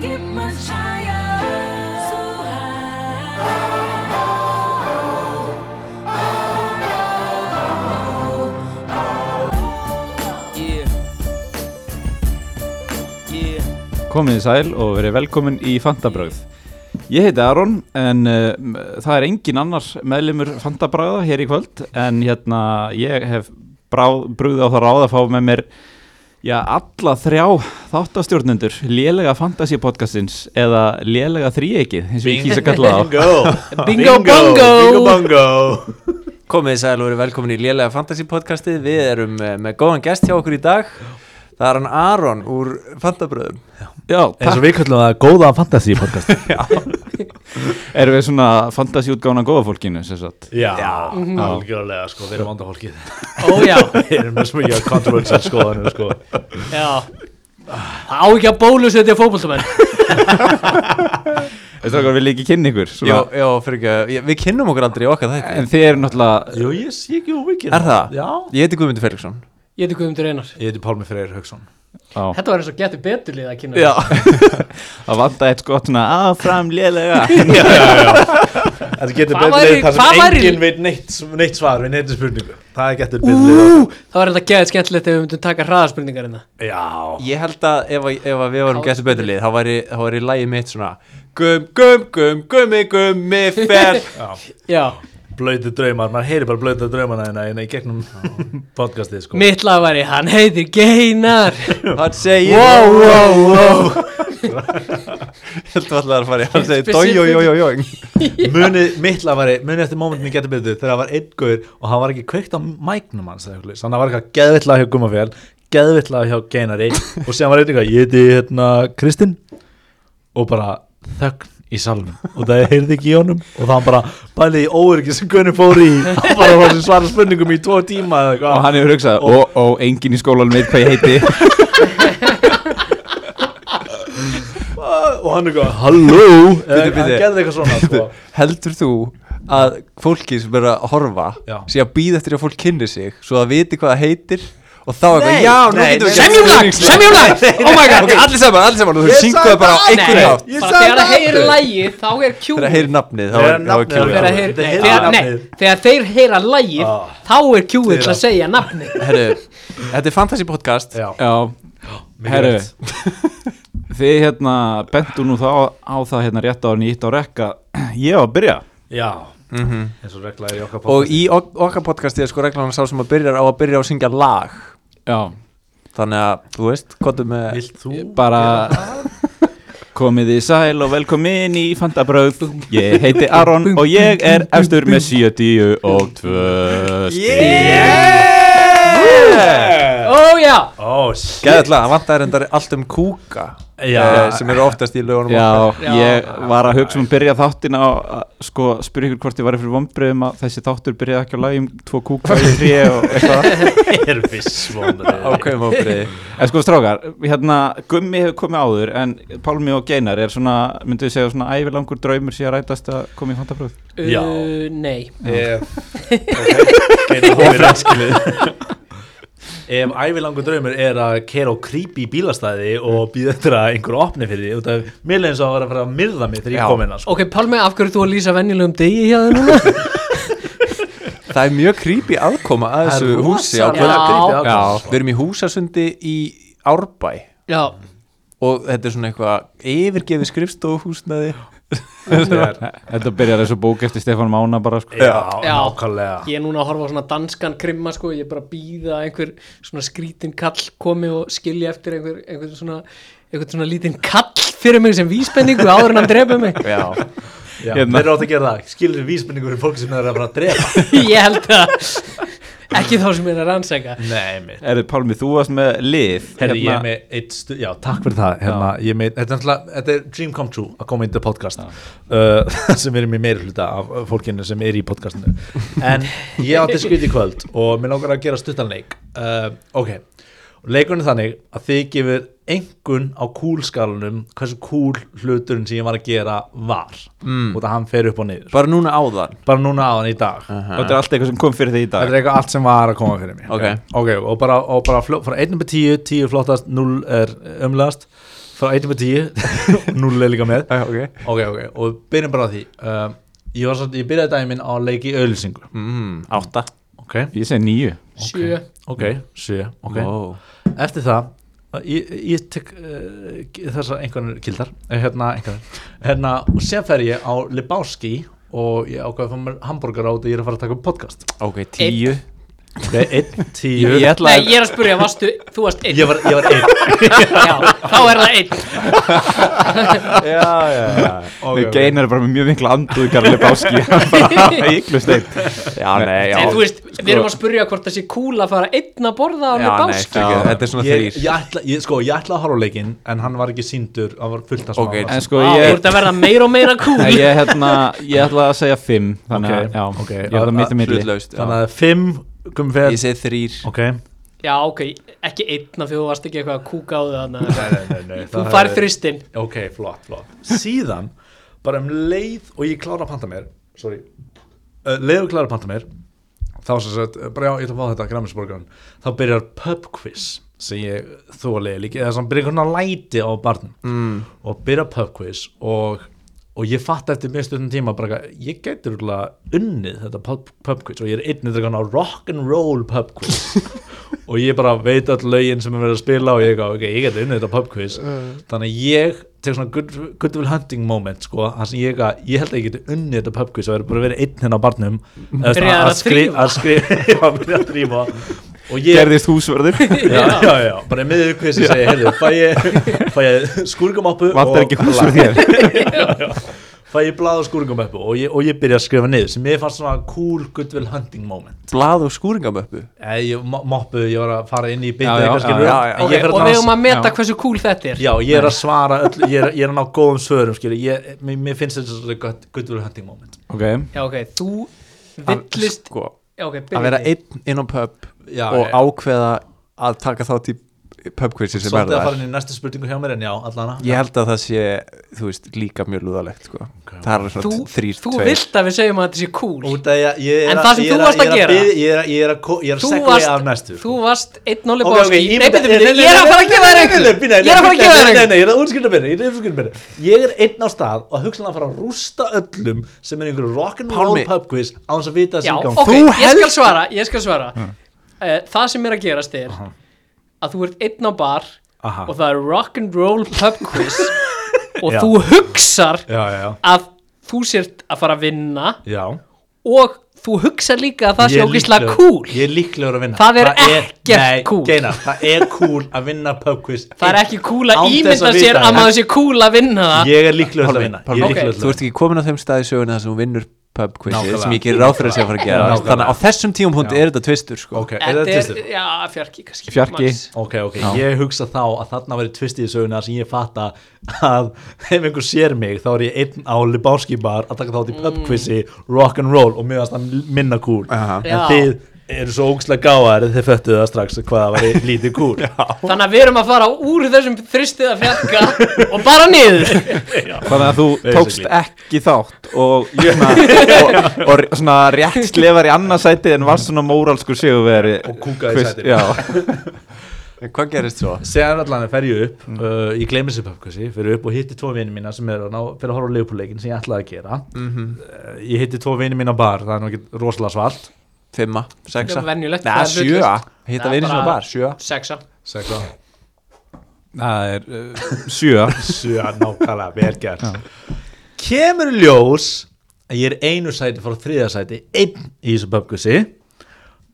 much higher, so high. Yeah. Yeah. Komið í sæl og verið velkomin í Fantabröð. Ég heiti Aron en uh, það er engin annars meðlumur Fantabröða hér í kvöld en hérna ég hef bráð, brúðið á það ráð að fá með mér já, alla þrjá þáttastjórnendur, lélega Fantasí podcastins eða lélega þríeikið eins og ég kýsa kalla það. Bingo Bingo bongo. Bingo bongo Komið sæl og verið velkomin í Lélega Fantasy podcastið Við erum eh, með góðan gest hjá okkur í dag Það er hann Aron úr Fantabröðum Já, Eins og takk. við kallum það góða fantasy podcast Erum við svona Fantasí útgána góða fólkinu sem sagt? Já, algjörlega sko, við erum vanda fólkið Ó já Við erum með smíja kontroversial skoðanir sko Já Á ekki að bólusetja fótboltamenn Veistu okkar vil ekki kynna ykkur? Já, Svona, já, fyrir ekki að- ég- Við kynnum okkur aldrei í okkar þetta en þið eru náttúrulega Jú, ég sé ekki úr vikið Er það? Já Ég heiti Guðmundur Felixson Ég heiti Guðmundur Einar Ég heiti Pálmi Freyr Hauksson á, Þetta var eins og getur betur lið að kynna að vanda eitt skott svona áfram lélega. Já, já, já Þetta getur Hvað betur væri- leið þar hvað sem væri- enginn veit neitt, neitt svar við neitt spurningu Það getur betur leið Það var eitthvað getur skemmtilegt ef við myndum taka hraðaspurningar hérna Já Ég held að ef, að- ef að við varum getur betur lið Þá væri, þá væri lægi mitt svona Gum, gum, gum, gummi, gummi, fel Já, Blöytið draumar, maður heyri bara blöytið draumana hérna hérna í gegnum podcastið sko mitt lag var í Hann heitir Geinar Hann segir Wow, wow, wow Heldur allar að fara í Hann segir Specific. Dójó, jó, jó, jó munið mittla var munið eftir mómentinu getur betur þegar það var einn guður og hann var ekki kveikt á mæknum hans eða eitthvað svoleiðis. þannig að það var eitthvað geðvillega hjá Gummafél geðvillega hjá Geinari og síðan var eitthvað, ég heiti hérna Kristinn og bara þögn í salnum og það heyrði ekki í honum og það bara bælið í óöryggi sem Gunni fór í hann bara var sem svara spurningum í tvo tíma eða og eitthvað hann hefur hugsað og, og, enginn í skólanum veit hvað ég heiti og hann eitthvað, halló eða Bíddu, hann bíddu. gerði eitthvað svona sko. Heldur þú að fólki sem er að horfa Já. sé að býða eftir að fólk kynni sig svo að viti hvað það heitir og þá eitthvað, já, nú nei, getum nei. við gert Semjum lag, stuðningslag." semjum lag. Nei, nei, Oh my God. ok, allir saman, allir saman, og þú Ég syngu sagði það bara "Ah, á það. einhvern Nei. hátt Ég bara sagði þegar það það heyrir aftur. lagið þá er kjúl Þegar það heyrir nafnið, þá Þegar er- þá er nafnið kjúið Þegar, er- á. að heyr, Þeir heyra þegar, nei, nafnið. þegar þeir heyra lagið Ah. þá er kjúið til Þeirra. að segja nafni Herru, þetta er fantasy podcast Já. já, mikið herru rétt. þið hérna bentu nú þá á það hérna rétt á hann ítt á rekka ég var að byrja já, eins og regla er í okkar og podcasti. í ok- okkar podcasti er sko reglan sá sem að byrjar á að byrja á að syngja lag já, þannig að, þú veist, um, eh, kontum með Vilt þú bara komið í sæl og velkomin í Fantabröð ég heiti Aron og ég er efstur með 70 og 2 Yeah! Ó já, Oh, shit. Gæðla, það vantar reyndar allt um kúka Já. eh, sem eru oftast í lögunum okkar. Já, ég var að hugsa um að byrja þáttin á að sko spyrja ykkur hvort ég var fyrir vombriðum að þessi þáttur byrjaði ekki á lagi um tvo kúka í trí og eitthvað Ég er viss vonandi ákveðum ábyrði En sko strákar, hérna Gummi hefur komið áður en Pálmi og Geinar er svona, myndu við segja svona ævilangur draumur sé að rætast að koma í fantafröð Já. Uh, nei Ef ævilangur draumur er að kera á creepy bílastæði og býða eftir að einhver opni fyrir því út af mér leiðins að vera að fara að myrða mig þegar Já. ég kom inn sko. Ok, Pálmi, af hverju ert þú að lýsa venjulegum degi hjá þér núna? Það er mjög creepy aðkoma að Það er þessu húsi á rosalega kvöld. creepy aðkoma, Já, sko. Við erum í húsasundi í Árbæ Já, og þetta er svona eitthvað yfirgefið skrifstofuhúsnaði Þetta byrjar þessu bók eftir Stefán Mána bara sko Já, Já. nákvæmlega ég er núna að horfa á svona danskan krimma sko, ég er bara að býða að einhver svona skrítin kall komi og skilja eftir einhver, einhver svona einhvern svona lítinn kall fyrir mig sem víspenningu áður en hann drepa mig Já, Já. Hérna. Þeir eru átt að gera það, skilur vísbendingur fyrir fólk sem er að fara að drepa ég held að ekki þá sem ég er að rannsæka Nei, mitt Erðu Pálmi, þú varst með lið hérna. Herri, ég er með eitt stu... Já, Hérna- takk fyrir það. Hérna, ég er með... Þetta er, náttúrulega- þetta er dream come true að koma inn til podcast uh, sem erum í meiri hluta af uh, fólkinu sem er í podcastinu. En ég átti skrið í kvöld og mér langar að gera stuttanleik. Uh, ok, og leikurinn er þannig að þið gefur engun á kúlskalunum hversu kúl hluturinn sem ég var að gera var Mm. út að hann fer upp og niður bara núna áðan bara núna á hann í dag Þetta er allt eitthvað sem kom fyrir þig í dag Þetta er eitthvað allt sem var að koma fyrir mig Ok. og bara, og bara fló, frá 1 upp 10 10 er flottast, 0 er umlegast frá 1 upp 10 0 er líka með okay. ok, ok, og við byrjum bara á því um, ég, var svolítið, ég byrjaði daginn minn á að leiki auðlýsingu mm, átta ok, Ég segi nýju sjö ok, sjö ok, Ó. eftir það ég, ég tek uh, þessar einhvernir kildar eh, hérna, einhvernir hérna, og sem fer ég á Lebowski og ég ákvaði að fá mér hambúrgar á því ég er að fara að taka upp podcast ok, tíu ok, 1, 10 Ég ætla Nei, að ég er að spurja, varstu, þú varst einn ég var, ég var einn Já, þá er það einn já, já, já. okay, Geinar er bara með mjög mikla anduð Karli Báski bara eiklust eitt já, nei, já, Nei, þú veist, við erum að spurja hvort það sé cool að fara einn að borða á já, með nei, sko, básk fyrir ekki, þetta er svona ég, þrýr ég, ætla, ég, sko, ég ætla að horfa á leikinn en hann var ekki síndur, hann var fullt að smá Ok, okay. En Vá, sko Þú ég ert að verða meira og meira cool Nei, ég, hérna, ég ætla að segja fimm Þannig Ok, að já, ok. ég ætla að mitt í milli hlutlaust já. þannig að 5 komum fyrir ég segi þrýr ok, Já, ok, ekki einn af því þú varst ekki eitthvað að kúka á það annað. nei, nei, nei, nei, Þú það fær hefði- þristinn ok, flott, flott síðan, bara um leið og ég klára að panta mér sorry, uh, leið og ég klára að panta mér þá sem sagt, uh, bara já, ég ætla að fá þetta græmisborgarn, þá byrjar pub quiz sem ég þólega líki eða sem byrjar einhvern veginn að læti á barnum mm. og byrjar pub quiz og, og ég fatt eftir mjög stundum tíma bara að ég gæti rúglega unnið þetta pub, pub quiz og ég er einnið þetta á rock'n'roll pub quiz og ég bara veit all lögin sem er verið að spila og ég, eitthvað, ok, ég geti unnið þetta pub quiz þannig að ég tek svona good, good will hunting moment sko, þar sem ég, að- ég held að ég geti unnið þetta pub quiz og er bara verið einn hérna á barnum eða svona Byrjaðir að skri- þrífa. að skrifa já, byrja að þrýfa og ég Gerðist húsverður já, já, já, bara miður quiz og segi, heyrðu, fæ ég, fæ ég skúrgamoppu Vantar ekki húsverð þér fæ ég blað og skúrgamoppu og ég, og ég byrja að skrifa niður sem ég fannst svona cool good will hunting moment blað og skúringamöppu Eða ég mo- moppuð, ég var að fara inn í Já, já, byndið eitthvað já, skilur já, já. En Ok, ég fer að Og við dansa- erum að meta já. hversu cool þetta er Já, ég er að svara öll, ég, er, ég er að ná góðum svörum skilur, ég, mér, mér finnst þetta svolítið gott good will hunting moment Ok, Já, ok, þú villist sko, Já, ok, að vera einn inn á pub Já, og ég- ákveða að taka þátt í pubquizi sem Svolítið að fara verðar inn í næstu spurningu hjá mér en já, allana ég held að það sé, þú veist, líka mjög lúðalegt sko. það er Þú, svona þrýr, þú tveir vilt að við segjum að þetta sé cool Út að ég, ég er En það sem ég er þú varst að ég er gera- bið- Ég er að, ég er að, ko- ég er að Þú segla ég af varst, næstu sko. þú varst einn Óli Ok, ok, Báski Nei, ímynda- betur, betur, nei, ég er að nei, fara að nei, gefa þér nei, nei, nei, einhver nei, Ég nei, er að fara að nei, gefa nei, þér Nei, einhver nei, ég er að útskýrta mér, ég er að útskýrta mér Ég er einn á stað og hugsanlega að fara að rústa öllum sem er einhverju rock'n'roll Pálmi. pub quiz án þess að vita Já, þessi í ok, ég skal svara, ég skal svara Eh, Það sem er að gerast er að þú ert einn á bar Aha. og það er rock'n'roll pub quiz og Já. þú hugsar Já, já, að þú sért að fara að vinna já og þú hugsar líka að það Ég sé er ógislega líklegur- cool Ég er líklegur að vinna Það er ekkert nei, cool. Geinar, það er cool að vinna pub quiz Það er ekki cool að Án þess ímynda að vita sér að það. maður sé cool að vinna það Ég er líklegur til að Pálmi, vinna Pálmi, Ég er ok. líklegur til þú að ert ekki komin á þeim stað í söguna þar sem þú vinnur pubquizið Nákvæmlega. sem ég gerir ráð fyrir að sé að fara að gera Nákvæmlega. þannig að á þessum tímapunkt Já. er þetta tvistur sko. Ok, er Þetta það tvistur? er, já, fjarki kannski Fjarki. max. Ok, ok, ég hugsa þá að þarna verið tvist í söguna sem ég fatta að ef einhver sér mig þá er ég einn á Lebowski bar að taka þátt í Mm. pubquizi rock'n'roll og mér varst það minna cool Aha. Já. en þið eru svo ógslega gáðar þið föttuðu það strax hvað það var lítið cool Já, Þannig að við erum að fara úr þessum þristið að fjarka og bara niður þannig að þú tókst Basically. ekki þátt og, svona, og, og svona rétt slefar í annarsæti en var svona móralskur sigurveri Og kúkaði í sætinu. Já, En hvað gerist svo? Segðan allan fer ég upp, uh, ég gleymi þessi pubquizzi, fyrir upp og hitti tvo vini mína sem er að ná, fyrir að horfa á leifupúleikin sem ég ætlaði að gera. uh, ég hitti tvo vini mína á bar, það er nú ekki rosalega svalt. Fimma, sexa Það er venjulegt, Nei, það er sjö, hlutlaust. hitta Það er vinið sem bara- bar, sjö Sexa Sækla. það er uh, sjö Sjö, nákvæmlega, vel gert. Kemur í ljós að ég er einu sæti frá þriða sæti, einn í þessu pubquizzi,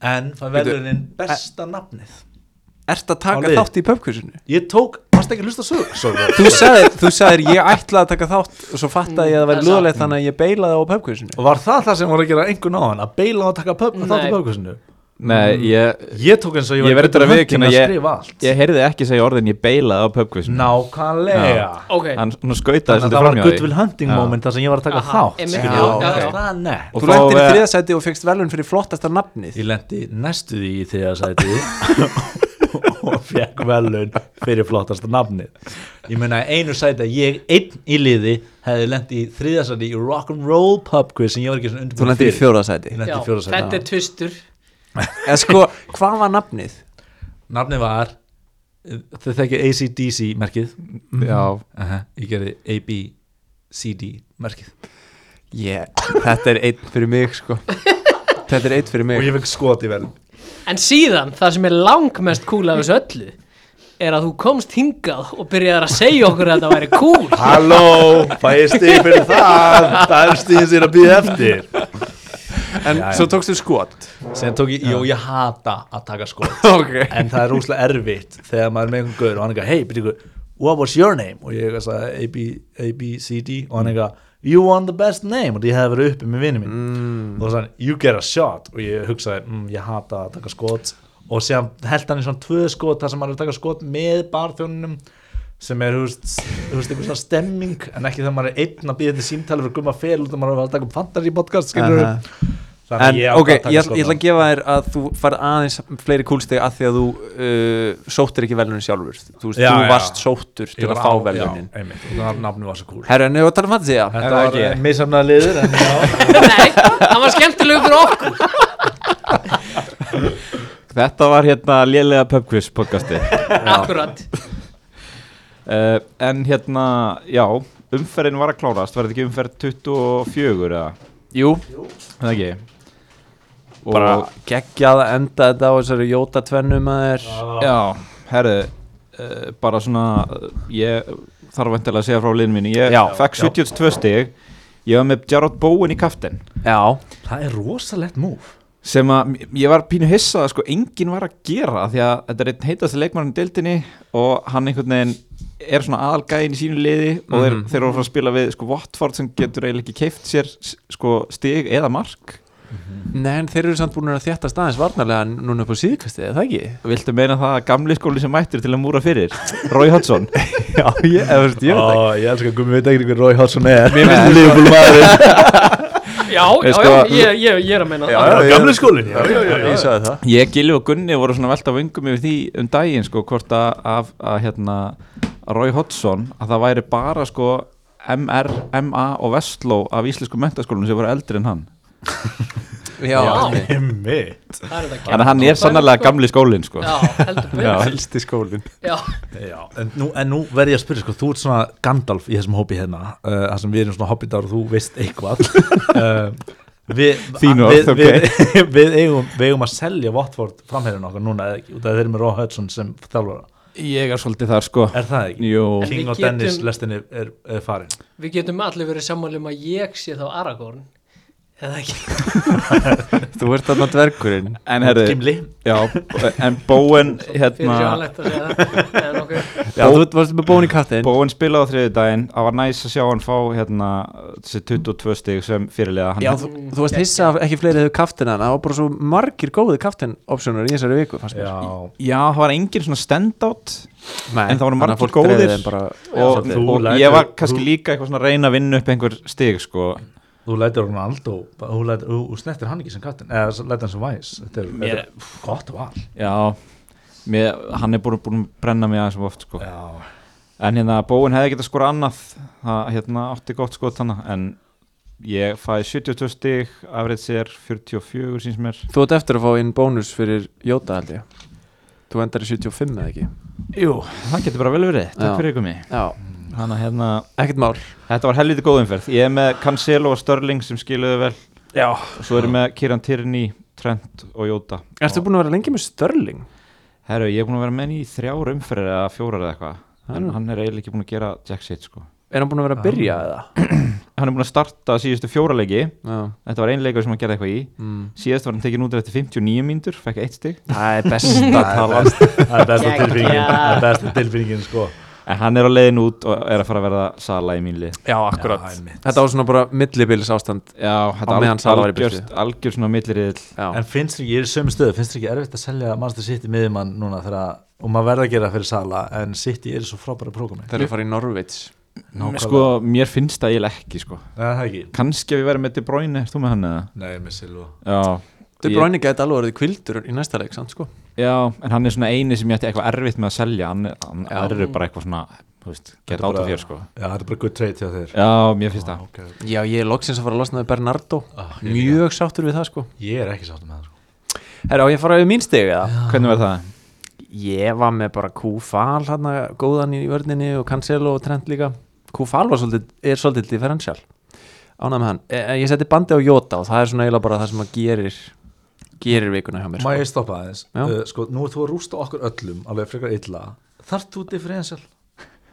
en það verður einn besta nafnið. Ert að Á taka liði. þátt í pubquizinu? Ég tók, varst ekki að hlusta sögur? Sögur. Þú sagðir, þú sagðir ég ætlaði að taka þátt og svo fattaði ég Mm, að það það væri er satt. lúðalegt þannig að ég beilaði á pubquizinu Og var það það sem voru að gera einhvern á hann, að beila og taka pub, þátt í Nei. pubquizzinu? Nei, ég, Ég tók eins og ég ég var verður að Good Hunting viðkynna ég, skrifa allt. ég heyrði ekki segja orðin ég beilaði á pubquizinu Nákvæmlega Ok, hann svona skautaði svolítið Þannig að það var framhjá good will hunting Já. moment þar sem ég var að taka Aha, þátt einmitt, skilur já, við. já, Það já. er það nett. Og Þú þá lendir í er- þriðasæti og fegst velun fyrir flottasta nafnið Ég lendi næstu því í þegar sæti og fekk velun fyrir flottasta nafnið ég meina einu sæti að ég einn í liði hefði lent í þriðasæti í rock'n'roll pub quiz sem ég var ekki svona Þú undirbúin lendi í fjóraðsæti ég lenti Já, í fjóra sæti þetta er tvistur En sko, hvað var nafnið? nafnið var þau þekkið ACDC merkið Já, Aha, ég gerði ABCD merkið Yeah. Þetta er einn fyrir mig sko Þetta er einn fyrir mig og ég fekk skot í velun En síðan, það sem er langmest cool af þessu öllu er að þú komst hingað og byrjaði að segja okkur að þetta væri cool Halló, fæ ég stíð fyrir það Það er stíðin sér að býða eftir Já, En já. svo tókstu skot Sen tók ég, jú ég hata að taka skot Ok En það er rúslega erfitt Þegar maður er með einhvern gaur og hann eitthvað Hey, byrju, what was your name? Og ég eitthvað sagði A, B, A, B, C, D Og hann eitthvað, you won the best name Og því hefði verið uppi með vinni minn Mm. Og það sann, you get a shot Og ég hugsaði, mm, ég hata að taka skot Og séðan held hann í svona tvö skot þar sem maður er að taka skot með barþjóninum sem er, þú veist, þú veist, einhver svona stemming en ekki þegar maður er einn að býða þetta símtali fyrir gumma fel út og maður er að taka um fantasy podcast skilur Aha. Þannig En að ég ákvað ok, að ég, taka ætla- skot ég þarna. ætla að gefa þér að þú farið aðeins fleiri kúlsteg að því að þú uh, sóttir ekki velunin sjálfur Þú, veist, Já, þú já. varst sóttur til Ég að var fá á- velunin já, einmitt, og það nafnum var svo cool Herra, en ég var að tala um fantasy já Þetta var eh, misamnaða liður en já, Nei, það var skemmtilegu fyrir okkur þetta var hérna lélega pubquiz podcasti Akkurat uh, En hérna, já, umferðin var að klárast Var þetta ekki umferð 24 eða? Jú, Það ekki Og, bara geggjað að enda þetta á þessari jóta tvennum að þér Já, herru uh, bara svona uh, ég þarf vantilega að segja frá liðinu mínu ég Já, fekk 72 stig ég var með Jarrod Bowen í kaftin Já, það er rosalegt múf sem að m- ég var pínu hissað að sko enginn var að gera af því að þetta er einn heitast leikmann í deildinni og hann einhvern veginn er svona aðalgæðin í sínu liði og Mhm. þeir, þeir eru að fara að spila við sko Watford sem getur eiginlega ekki keift sér s- sko stig eða mark nei en þeir eru samt búin að þéttast aðeins varnarlega núna upp á síðkastið, er það ekki? Viltu meina það að gamli skóli sem mættur til að múra fyrir Roy Hodgson Já, ég, eða, veist, Ó, ég elskar að gummi veit ekki hver Rói Hálsson er Mér finnst- lífbúl maður Já, já, já, sko- ég, ég, ég er að meina það já, já. Gamle skólin já, já, já, Ég sagði það Ég, Gilvi og Gunni voru svona velta vöngum yfir því um daginn sko hvort að, að, að hérna Rói Hodgson að það væri bara sko MR, MA og Vestló af íslensku mentaskólunum sem voru eldri en hann Já, Já. einmitt. Einmitt. Það er þetta Þannig að hann geggjað. er sannlega gamli skólinn sko Já, heldur Já, betur helsti skólin Já, já. En, nú, en nú verð ég að spyrja sko, þú ert svona Gandalf í þessum hópi hérna uh, þar sem við erum svona hobbitar og þú veist eitthvað uh, við, Þín a- orð, við, við, við, eigum, við eigum að selja Watford framherjun okkar núna eða ekki, út af þeir eru með Rói Hálsson sem þjálfara Ég er svolítið þar sko er það ekki? Jú, En við King og getum- Dennis lestinni er, er farin við getum allir verið sammáli um að ég sé þá Aragorn Eða ekki Þú ert þarna dvergurinn en herri Gimli Já, en Bóen Fyrir hérna sjónlegt að segja það En okkur Já, þú varst með bóni kattin Bóen spilaði á þriði daginn Það var næs að sjá hann fá hérna þessi 22 stig sem fyrirlega hann Já, þú, þú varst hissa að ekki fleiri hefur kaftin hann Það var bara svo margir góði kaftin optionar í þessari viku fannst mér Já, Já, það var engin svona standout Nei, En það voru þannig að margir fólk góðir. dreifði þeim bara, og, Þú og lætur- ég var kannski þú- líka eitthvað svona að reyna að vinna upp einhver stig sko Þú lætur Ronaldo, þú, lætur, þú, þú snertir hann ekki sem kattin, eða s- lætur hann sem væs Þetta er, Mér- þetta er gott val já, mér, hann er búin, búin að brenna mig aðeins of oft sko Já, en hérna bóin hefði getað skora annað það hérna átti gott skot þannig en ég fæði 72 stig afrið sér 44 síns mér Þú ert eftir að fá inn bónus fyrir Jóta held ég Þú endar í 75 eða ekki Jú, það getur bara vel verið, takk Já. fyrir ykkur mig Já, þannig að hérna, ekkert mál þetta var helviti góð umferð ég er með Cancelo og Störling sem skiluðu vel Já og svo erum með Kiran Tierney, Trent og Jóta Ertu búin að vera lengi með Störling? Herru, ég er búin að vera með hann í þrjár umferðir eða fjórar eða eitthvað en Hann- hann er eiginlega ekki búin að gera jack shit sko Er hann búin að vera að byrja eða? Hann er búin að starta síðustu fjóralegi Já þetta var einlega sem hann gerði eitthvað í mm. síðast var hann tekin út eftir 59 mínútur, fekk eitt stig Það er besta tala það er besta Geggjað. tilfinningin, það er besta tilfinningin sko en hann er á leiðin út og er að fara að verða sala í mín lið Já, akkurat Já, einmitt. Þetta var svona bara millibils ástand Já, Á þetta meðan Sala var í algjörst algjör svona milliriðil Já, En finnst þér ekki, ég er í sömu stöðu, finnst þér ekki erfitt að selja Manchester City miðjumann núna þegar að, og maður verður að gera það fyrir Sala en City er í svo frábæra prógami þegar að fara í Norvits Nákvæmlega. sko, mér finnst það eiginlega ekki sko Það er ekki kannski að við verðum með De Bruyne, ert þú með hann eða? Nei, með Silva Já, Þau Ég- bráinni gæti alveg orðið kvildur í næsta leik, samt sko Já, en hann er svona eini sem ég ætti eitthvað erfitt með að selja Hann, hann Já. er bara eitthvað svona þú veist, Get Þetta out er of bara- here sko Já, þetta er bara good trade hjá þér Já, mér finnst það okay. Já, ég er loksins að fara að losna við Bernardo Ah, ég Mjög sáttur við það sko Ég er ekki sáttum með það sko. Herra, á ég að fara við mín stegu eða? Hvernig var það? Ég var með bara Kúfal hérna góðan í vörninni og Cancelo og Trent líka Kúfal var svolítið, er svolítið differential Ánægð með hann e e- Ég seti bandi á Jota og það er svona eiginlega bara það sem að gerir gerir vikuna hjá mér Má sko. ég stoppa aðeins Já. uh, sko, Nú ert þú að rústa okkur öllum alveg frekar illa Þarft þú differential?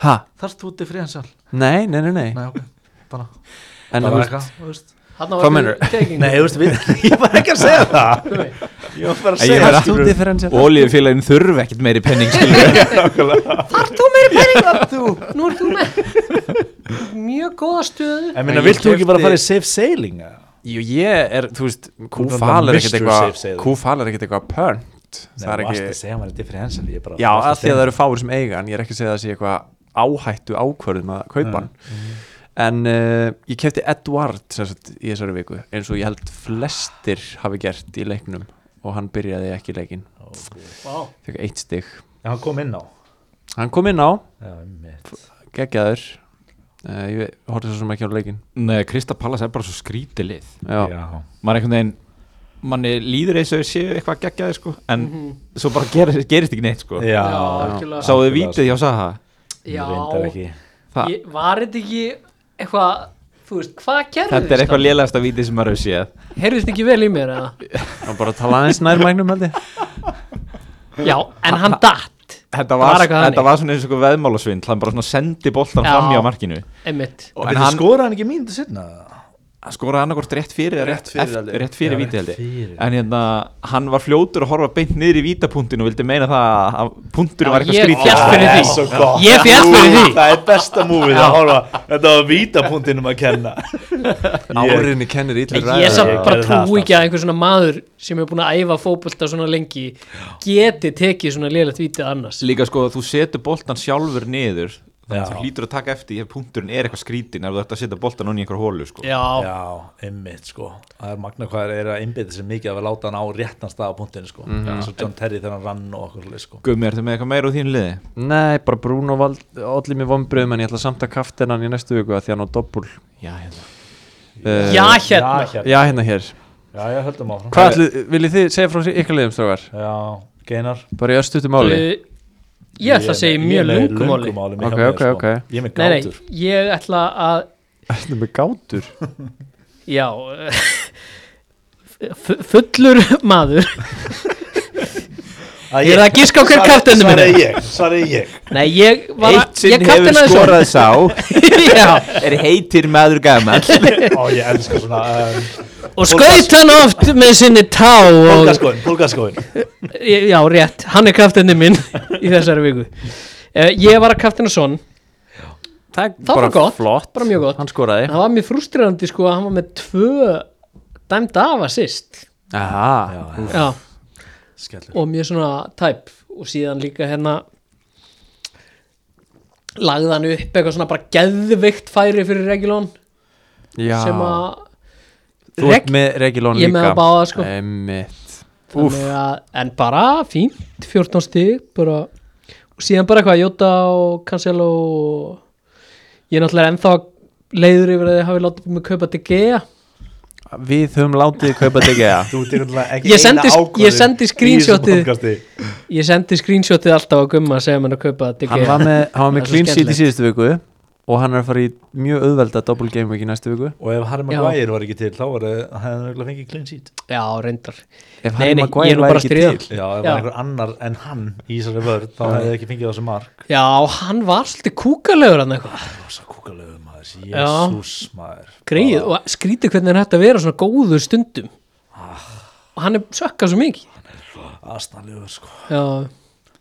Ha? Þarft þú differential? Nei, nei, nei, nei, Nei, ok, bara, En þú bara veist, eitthvað þú veist. Hanna Hvað meinarðu? Nei, þú veist, við, ég var ekki að segja það Ég var bara að Ég segja er þarft þú differential Ólíufélagin þurfi ekkert meiri penning skilur Nú er þú með mjög góða stöðu En minna, Ég vilt þú ekki bara keypti- fara í safe sailing? eða? Jú, ég er, þú veist, náttúrulega Kúfal er ekkert Mr. Safe eitthvað segir þú. Kúfal er ekkert eitthvað pönt Nei, Það er þú varst að ekki, segja maður er differential ég bara- já, varst að því að það segja- eru fáir sem eiga En ég er ekki að segja að það sé eitthvað áhættu ákvörðum að kaupa hann En uh, ég kefti Edward sem sagt, í þessari viku eins og ég held flestir hafi gert í leiknum og hann byrjaði ekki leikin Vá. fekk eitt stig En hann kom inn á Hann kom inn á, Já, einmitt. geggjaður uh, Ég horfði svo sem ekki á leikin Nei, Krista Pallas er bara svo skrítið lið Já, Já. Maður einhvern veginn Manni líður eins og þau séu eitthvað geggjaði sko En svo bara gerist, gerist ekki neitt sko Já, Mhm. Já, Sáðu þið Algjörlega, vítið hjá Saha reyndar algjörlega Já, ekki Það- ég, var þetta ekki eitthvað þú veist, hvað gerðist? Þetta er eitthvað lélegasta vítið sem maður hefur séð Heyrðist ekki vel í mér eða? hann bara talaði aðeins nær mæknum held ég Já, en hann datt Þetta Bara var, eitthvað þannig. þetta var svona eins og veðmálasvind Hann bara svona sendi boltan Já. fram hjá markinu Einmitt Og- En En hann skoraði hann ekki mínútu sinna? skoraði annarkort rétt fyrir eða rétt, Rétt fyrir, eftir- held ég. rétt fyrir Já, víti rétt held ég fyrir. en hérna, hann var fljótur að horfa beint niður í vítapunktinu og vildi meina það að punkturinn var eitthvað Já, ég skrítið féll fyrir Það því. er svo gott Ég féll fyrir Jú, því. Það er besta múfið að horfa Þetta var vítapunktinum að kenna Árinni kennir illir Ég ræður. samt já. bara Gerði það trú alltaf. ekki að einhver svona maður sem er búin að æfa fótbolta svona lengi geti tekið svona lélegt vítið annars líka sko, þú setur boltan sjálfur niður þannig að Já. þú hlýtur að taka eftir ef punkturinn er eitthvað skrítin ef þú ert að setja boltan onni í einhver hólu sko. Já, Já, einmitt sko Það er magna hvað er að einbytta sér mikið að við láta hann á réttan stað á punktinu sko Svo John Terry þegar hann rann og okkur svoleiðis, sko Gummi, ertu með eitthvað meira úr þínu liði? Nei, bara Bruno vald, allir mér vombriðum en ég ætla samt að kaftin hann í næstu viku að því hann á doppul Já, hérna uh, já hérna Já, hérna hér Já, já, höldum áfram Hvað ætlið, viljið þið segja frá ykkar liðum strákar? Já, Geinar Bara í östutu máli Uh, Ég ætla að segja í mjög lungumáli lungumáli Ok, ok, ok. sko. Ég er með Nei, nei, gátur ég ætla að Þetta með gátur Já fu- Fullur maður Að Ég er að giska á hver kaptennum Svaraði minn er. ég, svaraði ég Nei, ég var Eitt sinn ég hefur kapteinaði skorað sá svo. Já, er heitir maður gammal Ó, ég elska svona um, Og skaut hann oft með sinni tá og, Pólkaskoðin, pólkaskoðin Já, rétt, hann er kaptenni minn í þessari viku uh, Ég var að kapteina son Það er Það var bara gott, flott bara mjög gott. Hann skoraði Það var mér frústrerandi sko að hann var með tvö dæmd af að sýst Aha, Já, Skellur og mjög svona tæp og síðan líka hérna lagði hann upp eitthvað svona bara geðvikt færi fyrir Regulón já sem að Þú Reg- ert með Regilón Ég líka er með að báða, sko. Einmitt Úff. þannig að, en bara fínt 14 stig bara, og síðan bara eitthvað Jota og Cancelo og ég er náttúrulega ennþá leiður yfir að þið hafi látið mig kaupa til Gea Við höfum látið kaupa DGA Þú tekur náttúrulega ekki Ég sendi- ég eina ákvörðun sendi í þessu screenshotið. podcasti. ég sendi screenshotið alltaf á gumma að segja mér að kaupa til Hann Gea var með, hann var Það er með svo clean sheet í skemmtilegt. síðustu viku Og hann er að fara í mjög auðvelda double game week í næstu viku Og ef Harry Já. Maguire var ekki til þá var það hefði hann fengið clean sheet já, reyndar Ef Nei, Harry nei, ég er Maguire nú væri bara að ekki stríða. til Já, ef það Já. var einhver annar en hann í þessari vörð þá hefði ekki fengið þessu mark já, hann var svolítið kúkalegur hann eitthvað Rosa kúkalegu maður, Já. jésús maður greið Ah. og skrítið hvernig hann hætti að vera svona góður stundum Ah. og hann er sökkað svo mikið Astanlegur sko já,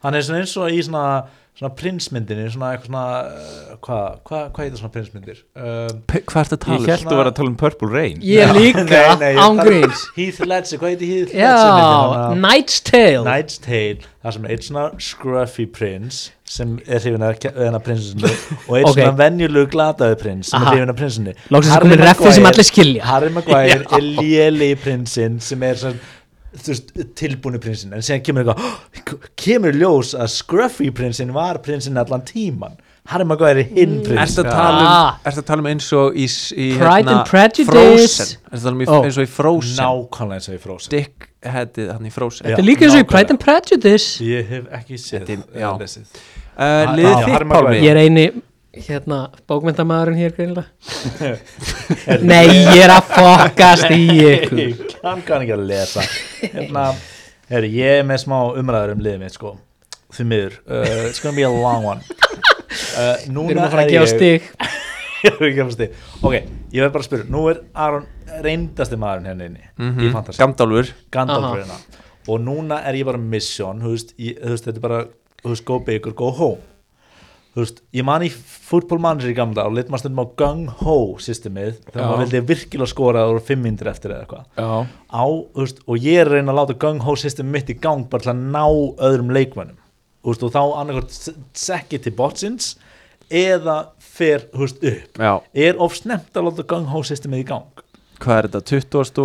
Hann er svona eins og í svona, svona prinsmyndinni svona eitthvað svona uh, hvað hva, hva heitir svona prinsmyndir? Um, P- Hvað ertu að Ég tala? held að vera að tala um Purple Rain ég líka Nei, nei, ég án þarf- gríns Heath Ledger, hvað heitir Heath Ledger? já, Night's Tale Night's Tale, það sem er eitt svona scruffy prins sem er hrifin af hennar prinsinu og eitt Ok. svona venjulegu glataði prins sem Aha. er hrifin af prinsinu Loksins er Harry komin reffi sem Maguire- allir skilja. Harry Maguire er lélegi prinsinn sem er svona þú veist, tilbúni prinsinn en síðan kemur eitthvað, "Oh, kemur í ljós að Scruffy prinsinn var prinsinn allan tíman, Harry Maguire er hinn Mm. prins Ertu að tala um, ertu að tala um eins og í, s- í hérna Pride and Prejudice. Oh. Frozen Ertu að tala um í, Ó. eins og í Frozen nákvæmlega eins og í Frozen Dick headið hann í Frozen Eh, Já. Þetta er líka eins og í nákvæmlega. Pride and Prejudice ég hef ekki séð Þetta eða er- já. lesið. uh, Ha- Liðið Já, Harry þitt Maguire. Pálmi Ég er eini hérna, bókmyndamaðurinn hér greinilega Nei, ég er að fokast í ykkur ég kann kann ekki að lesa hérna, herri, ég er með smá umræður um liðið mitt sko því miður, uh, it's gonna be a long one uh, Við erum núna að fara er að gefa ég- stig Ég er ekki að fara stig. ok, ég verð bara að spyrja nú er Aron reyndasti maðurinn hérna inni Mhm. í fantasy, Gamdálfur Gandalf reyna og núna er ég bara með mission þú veist, ég, þú veist, þetta er bara þú veist, go big or go home þú veist, ég man í football manager í gamla og lit maður stundum á gung ho systemið þegar Já. maður vildi virkilega skora og 500 eftir eða eitthvað Já, á, þú veist, og ég er að reyna að láta gung-ho system mitt í gang bara til að ná öðrum leikmönnum þú veist, og þá annarkvort sekki til botsins eða fer þú veist, upp Já, er of snemt að láta gung-ho systemið í gang hvað er þetta?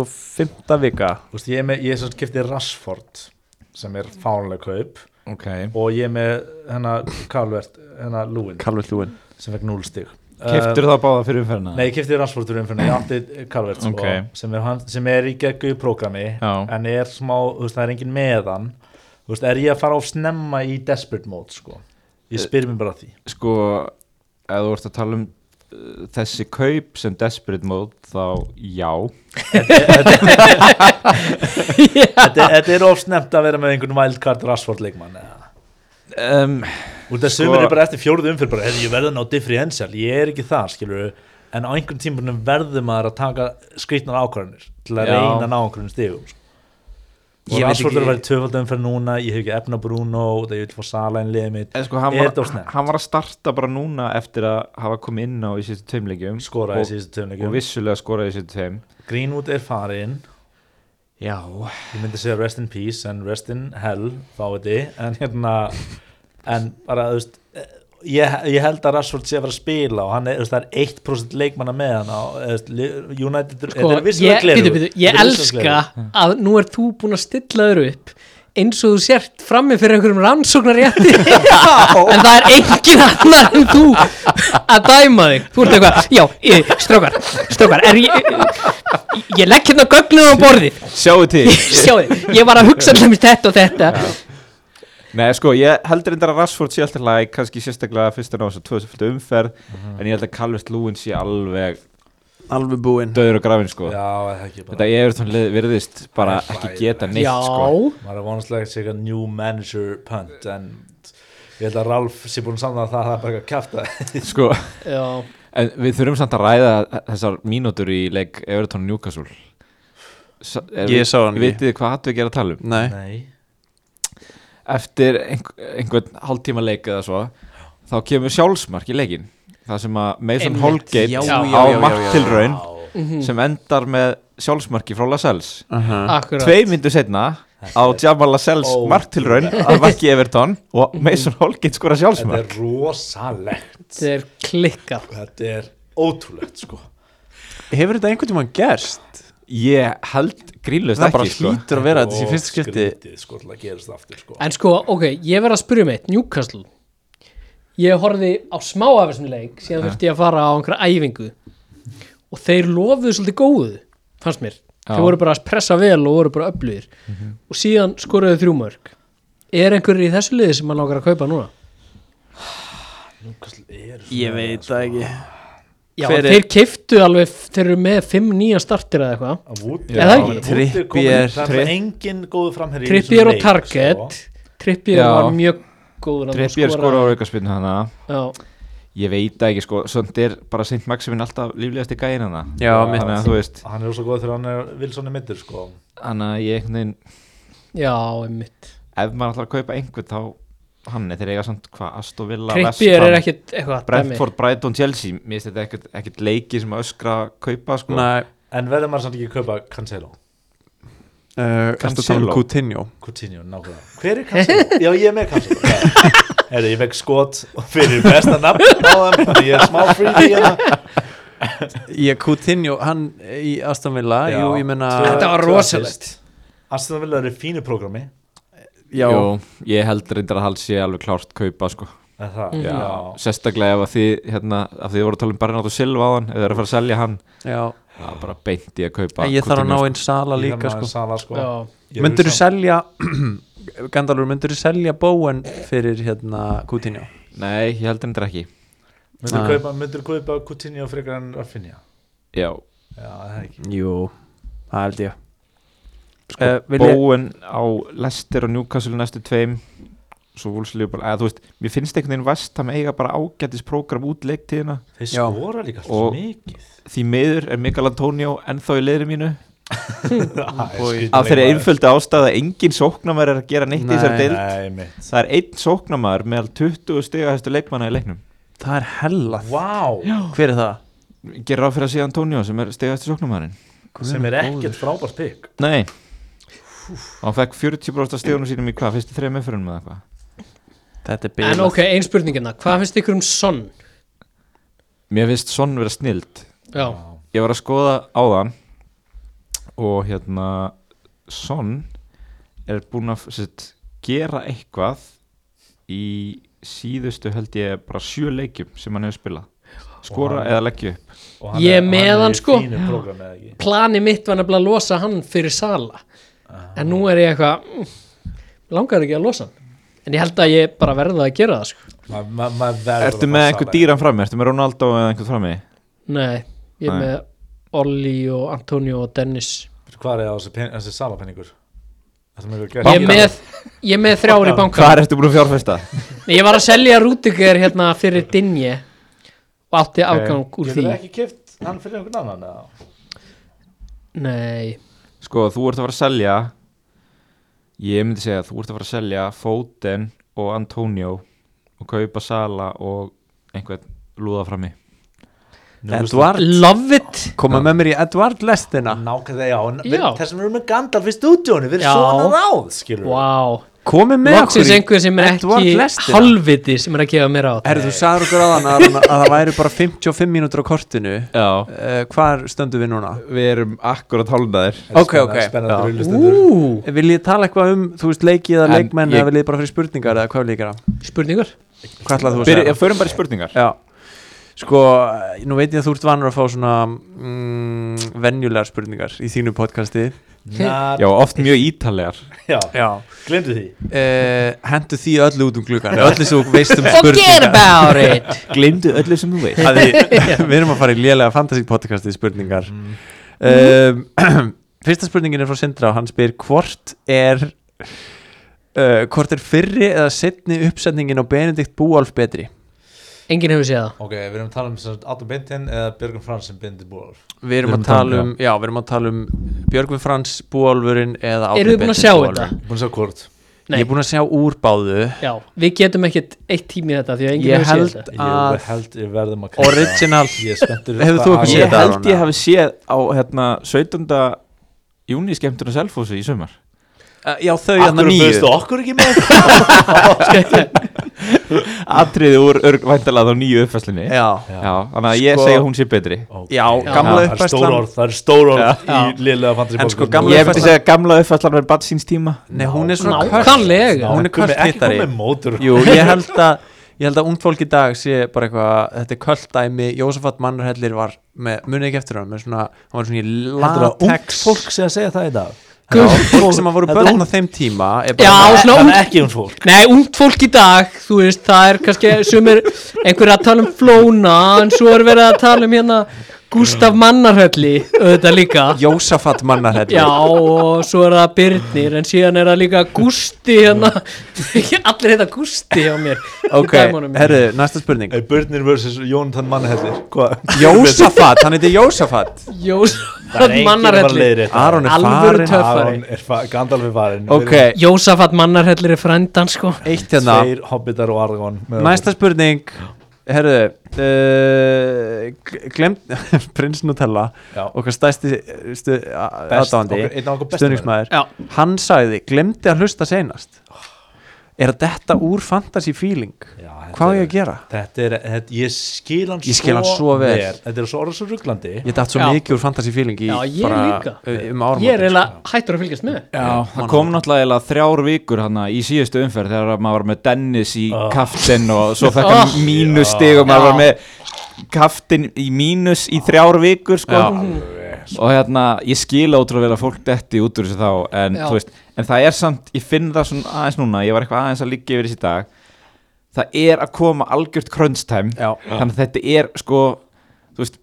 25. vika Þú veist, ég er með, ég er svo skiptið Rashford sem er fánuleg kaup ok og ég er með hérna hennar Calvert, hennar Lúin Kalvur Ljúin hérna sem fekk 0 stig Eh, Keftur það báða fyrir umferðina? Nei, ég kefti Rashford fyrir umfyrir, ég átti Calvert sko, Ok. sem, er hann, sem er í geggu í prógrami Já. en er smá, þú veist, það er engin meðan þú veist, er ég að fara of snemma í desperate mode, sko ég spyr mér bara að því Sko, ef þú ert að tala um uh, þessi kaup sem desperate mode þá já Þetta, þetta er of snemt að vera með einhvern wildcard Rashford leikmann eða. um, Úr þess Sko- sumir er bara eftir fjórðu umfyrir bara, "Heyrðu, ég verður ná differential, ég er ekki það, skilur en á einhvern tímpunum verður maður að taka skrýtnar ákvarðanir til að Já. reyna að ná einhverjum stigum sko. og Ég veit Rashford er ekki- að vera tvöfaldum fyrir núna ég hef ekki efna Bruno, það ég vil fá Sala inn í liðið mitt En sko, hann Er þetta var, of snemmt? hann var að starta bara núna eftir að hafa komið inn á í síðustu tveimleikjum skoraði og, síðustu og töfnleikum vissulega skoraði í síðustu tveim Greenwood er farinn Já, ég myndi segja rest in peace en rest in hell fáiði en hérna en bara þú veist eh, ég, ég held að Rashford sé að vera að spila og hann er, þú veist, það er 1% leikmanna með hann á eh, þú veist, li- United sko, þetta er vissulega ég, gleraugu. bíddu, bíddu, ég Þetta er vissulega elska gleraugu. að nú er þú búin að stilla þér upp eins og þú sért frammi fyrir einhverjum rannsóknarjætti en það er engin annar en þú að dæma þig þú ert eitthvað, já, ég, strókar strókar, er ég ég legg hérna gögnum á borðið sjáu til sjáðu, ég var að hugsa allir þetta og þetta Nei, sko, ég heldur endara Rashford sé alltaf læg kannski sérstaklega fyrst að ná þess að tvöðsfjöldu umferð Mhm. en ég held að Calvert Lúin sé alveg Alveg búinn döður og grafin, sko já, það ekki bara Þetta er lið virðist bara Það er ekki hræðilegt. geta neitt, já, sko maður er vonastlega að segja new manager punt en ég held að Ralf sé búin að samna það að það er bara ekki að kæfta Sko, já en við þurfum samt að ræða þessar mínútur í leik Everton Newcastle Sa- er- Ég sá hann ekki. Vitið þið hvað hattu ekki að tala um? Nei, nei eftir einhver, einhvern hálftíma leik eða svo þá kemur sjálfsmark í leikin það sem að Mason Einmitt. Holgate Já, já, Mm. á já, já, marktilraun Vá. mhm, sem endar með sjálfsmarki frá Lascelles akkurat tvei myndu setna á Jamal Lascelles Ó. marktilraun að marki Everton og Mason Holgate skora þetta sjálfsmark er rosalegt þetta er klikkað þetta er ótrúlegt sko hefur þetta einhvern tímann gerst? ég held grínlust Það ekki bara sko. hlýtur að vera þetta sé fyrst skipti skrítið sko til að gerast aftur sko En sko, ok, ég verð að spyrja um eitt, Newcastle Ég horfði á smá af þessum leik síðan þurfti ég að fara á einhverja æfingu og þeir lofuðu svolítið góðu fannst mér, þeir Já. voru bara að pressa vel og voru bara öflugir og síðan skoruðu þrjú mörg Er einhverjir í þessu liði sem mann langar að kaupa núna? Ég veit það ekki Já, Hver er- þeir keiftu alveg, þeir eru með fimm nýja startir eða eitthvað Er það ekki? Trippier, það er Tripp- engin góðu framherri í Trippier þessum og leik, Target sko. Trippier Já. var mjög góður að Trippier skora á aukarspinnu hana Já, ég veit það ekki sko, svona er bara Saint Maximin alltaf líflegasti gæinn hana Já, mitt. þannig að þú veist, hann er ósað góð þegar hann er Wilson er mittur sko þannig að ég einhvern veginn já, einmitt ef maður ætlar að kaupa einhvern þá hann er þeir eiga samt hvað Aston Villa, Trippier West er Ham, ekkit eitthvað dæmi. Brentford, Brighton, Chelsea mér finnst þetta ekkert, ekkert leiki sem að öskra að kaupa sko Nei, en verður maður samt ekki að kaupa Cancelo uh, ertu að tala um Cancelo. Coutinho Coutinho, nákvæmlega hver er Cancelo? já ég er með Cancelo Já. Herri, ég vekk skot fyrir besta nafn á þeim þannig ég er smá free hérna. Ég Coutinho, hann í Aston Villa Já. Jú, ég menna Tvö- Þetta var tvö rosalegt. assist. Aston Villa eru í fínu prógrami Já, Jú, ég held reyndar að hans sé alveg klárt kaupa sko. Er það? Mhm. Já. Sérstaklega ef að þið, hérna, af því þið voru að tala um Bernardo Silva á hann, ef þið eru að fara að selja hann já það er bara beint í að kaupa En ég þarf að ná Coutinho, einn sala Ég líka þarf sko maður Sala, sko. Já. Ég er Myndur þú hugsa- selja Gandalur, myndur þú selja Bowen fyrir hérna Coutinho? sko. Nei, ég held reyndar ekki Myndirðu Ah. kaupa- Myndirðu kaupa Coutinho frekar en Rafinha Já, Já, það er ekki Jú, það held ég sko, Eh, vil ég- Bóen á Lester og Newcastle næstu tveim svo vúlslega bara, eða þú veist mér finnst einhvern veginn vest að eiga bara ágætis prógram út leiktíðina, Þeir Já. skora líka alltaf Og- mikið því miður er Mikael Antonio ennþá í leiðinu mínu Það er skrýtin af þeirri leikmaður. einföldu ástæða að engin sóknamaður er að gera neitt í þessari Nei. deild Nei, mitt það er einn sóknamaður meðal 20 stiga hæstu leikmanna í leiknum Það er hella Vá, Hver er það? gerir ráð fyrir að sé Antonio sem er stiga hæstu sóknamaðurinn sem er góður. ekkert frábært pikk nei og hann fekk 40% af stigunum sínum í hvað, fyrstu þreim meðfyrinum eða hvað Þetta er En byrjað ok, ein spurningina, hvað finnst ykkur um sonn? mér finnst sonn vera snild Já, ég var að skoða á þann og hérna Son er búinn að sitt, gera eitthvað í síðustu held ég bara sjö leikjum sem hann hefur spilað skora Og hann- eða leggja upp Og hann Ég er- með hann, sko. Hann er í fínu prógrami eða ekki plani mitt var nefnilega að losa hann fyrir sala En nú er ég eitthvað, mm, langar ekki að losa hann En ég held að ég bara verða að gera það sko Ma- ma- maður verður ertu með að fara einhver saman. dýran frammi, ertu með Ronaldo eða einhvern frammi Nei, ég er Nei. með Olli og Antonio og Dennis Hvar er það þessi pen- þessi salapenningur? Það er Ég er með, ég er með þrjári banka hvað ertu búin að fjárfesta? Nei, Ég var að selja Rúdiger hérna fyrir Dinje Og átti afgang úr því Getur ekki kipt hann fyrir einhvern annan eða? Nei, sko þú ert að fara að selja ég myndi segja að þú ert að fara að selja Foden og Antonio og kaupa Sala og einhvern lúða frammi Edvard love it Koma með mér í Edvard lestina Nákvæmlega, já, en við, Já. þess að við erum með Gandalf í stúdíónu, við Já. erum svona ráð, skilur við. Wow Komi með Loksins í einhver sem er Edward ekki lestina. halvviti sem er að gefa mér á Herðu, þú sagður okkur áðan að, að það væri bara 55 mínútur á kortinu já, uh, Hvar stöndum við núna? við erum akkurat hálfnaðir Þetta er Ok, spennandi- ok. Spennandi Já. rullustundur. Ú, Vil ég tala eitthvað um, þú veist, leiki eða En leikmenn ég- eða vil ég bara fyrir spurningar eða hvað vil ég gera? spurningar Hvað ætlað þú að Byrja, segja? ég förum bara í spurningar Já, sko, nú veit ég að þú ert vanur að fá svona mm, venjulegar spurningar í þínu podcasti Já, oft mjög ítarlegar Já, já. Já glemdu því. uh, hendu því öllu út um klukkan öllu sem þú veist um Forget spurningar about it Gleimdu öllu sem þú veist Af því, við erum að fara í lélega fantasy podcastið spurningar um, fyrsta spurningin er frá Sindra og hann spyr hvort er uh, hvort er fyrri eða setni uppsetningin á Benedikt Búalf betri Enginn hefur séð það Ok, við erum að tala um sem sagt Adam Bintin eða Björgum Frans sem bindi búar. við erum að tala um, já, við erum að tala um Björgvin Frans Búalfurinn eða Árni Eru þið búin að Benedikt sjá þetta? Búalfurinn. Búin að sjá hvort. ég er búin að sjá úrbáðu Já, við getum ekkert eitt tími í þetta því að enginn ég hefur séð held þetta að Ég held, ég verðum að Original. Ég er spenntur. Hefur þú hvað að- ekki Ég séð þetta, held Aron, ég eða? hafi séð á hérna, 17. júni skemmtuna Selfossi í sumar Uh, já, þau hann Akkur nýju bauðstu okkur ekki með? Atriði úr væntalega á nýju uppfæslinni Já, já, þannig að ég Sko- segja að hún sé betri já, Já. Það gamla er stór uppfærslan orð, það er stór orð í liðlega fantri En sko, gamla Ég myndi uppfærslan- segja að gamla uppfæslan verið bad síns tíma Nei, hún er svona Nákvæmlega. Hún er kvöld Ekki hittari komið mótur. Jú, ég held að Ég held að ungd fólk í dag sé bara eitthvað Þetta er kvöld dæmi, Jósafat Mannarhellir var með, munið ekki eftir hann, með svona hann var svona í Heldur að ungt latex fólk sé að segja það í dag? Já, fólk sem að voru Þetta er börn á þeim tíma er bara Já, svona- svona Það ungt er ekki ungt fólk. Nei, ungt fólk í dag, þú veist, það er kannski sumir einhverja að tala um flóna en svo er verið að tala um hérna Gustaf Mannarhölli, auðvitað líka Jósafat Mannarhellir Já, og svo er það Byrnir en síðan er það líka Gusti hérna Allir heita Gusti hjá mér Ok, Dæmunum mér. herru, næsta spurning Hey, Börnir versus Jónatan Mannhellir Hvað? Jósafat, hann heitir Jósafat Jósafat bara leiðir Mannarhelli þetta Aron er Alvöru farin töff. Aron er fa- Gandalf er farin Ok, Jósafat Mannarhellir er frændan sko eitt Við erum hérna Tveir hobbitar og Argon með Næsta spurning Herðu uh, Glemt Prins Nutella okkur. Já. Okkar stæsti stu, Best- aðdáandi okkur- Einn af okkur bestum Stöðningsmæður Já, Hann sagði Glemti að hlusta seinast er að detta úr fantasy feeling Oh. Já, þetta hvað á er- ég að gera? Þetta er, þetta, ég skil hann Ég skil hann svo vel. Þetta er svo orða svo rugglandi ég dætt svo Já. mikið úr fantasy feeling í Já, ég bara líka. um árum Ég er eiginlega hættur að fylgjast með Já, það mánaðamót. kom náttúrulega eiginlega þrjár vikur hana, í síðustu umferð þegar maður var með Dennis í Ah. oh. kaftin og svo fekk hann Ah. mínus stig og maður var með kaftin í mínus í þrjár vikur sko. og hérna ég skila ótrúlega vel að fólk detti út úr þessu þá en, Já. þú veist, en það er samt, ég finn það svona aðeins núna ég var eitthvað aðeins að liggja yfir þessi dag það er að koma algjört crunch time Já. þannig að þetta er sko þú veist,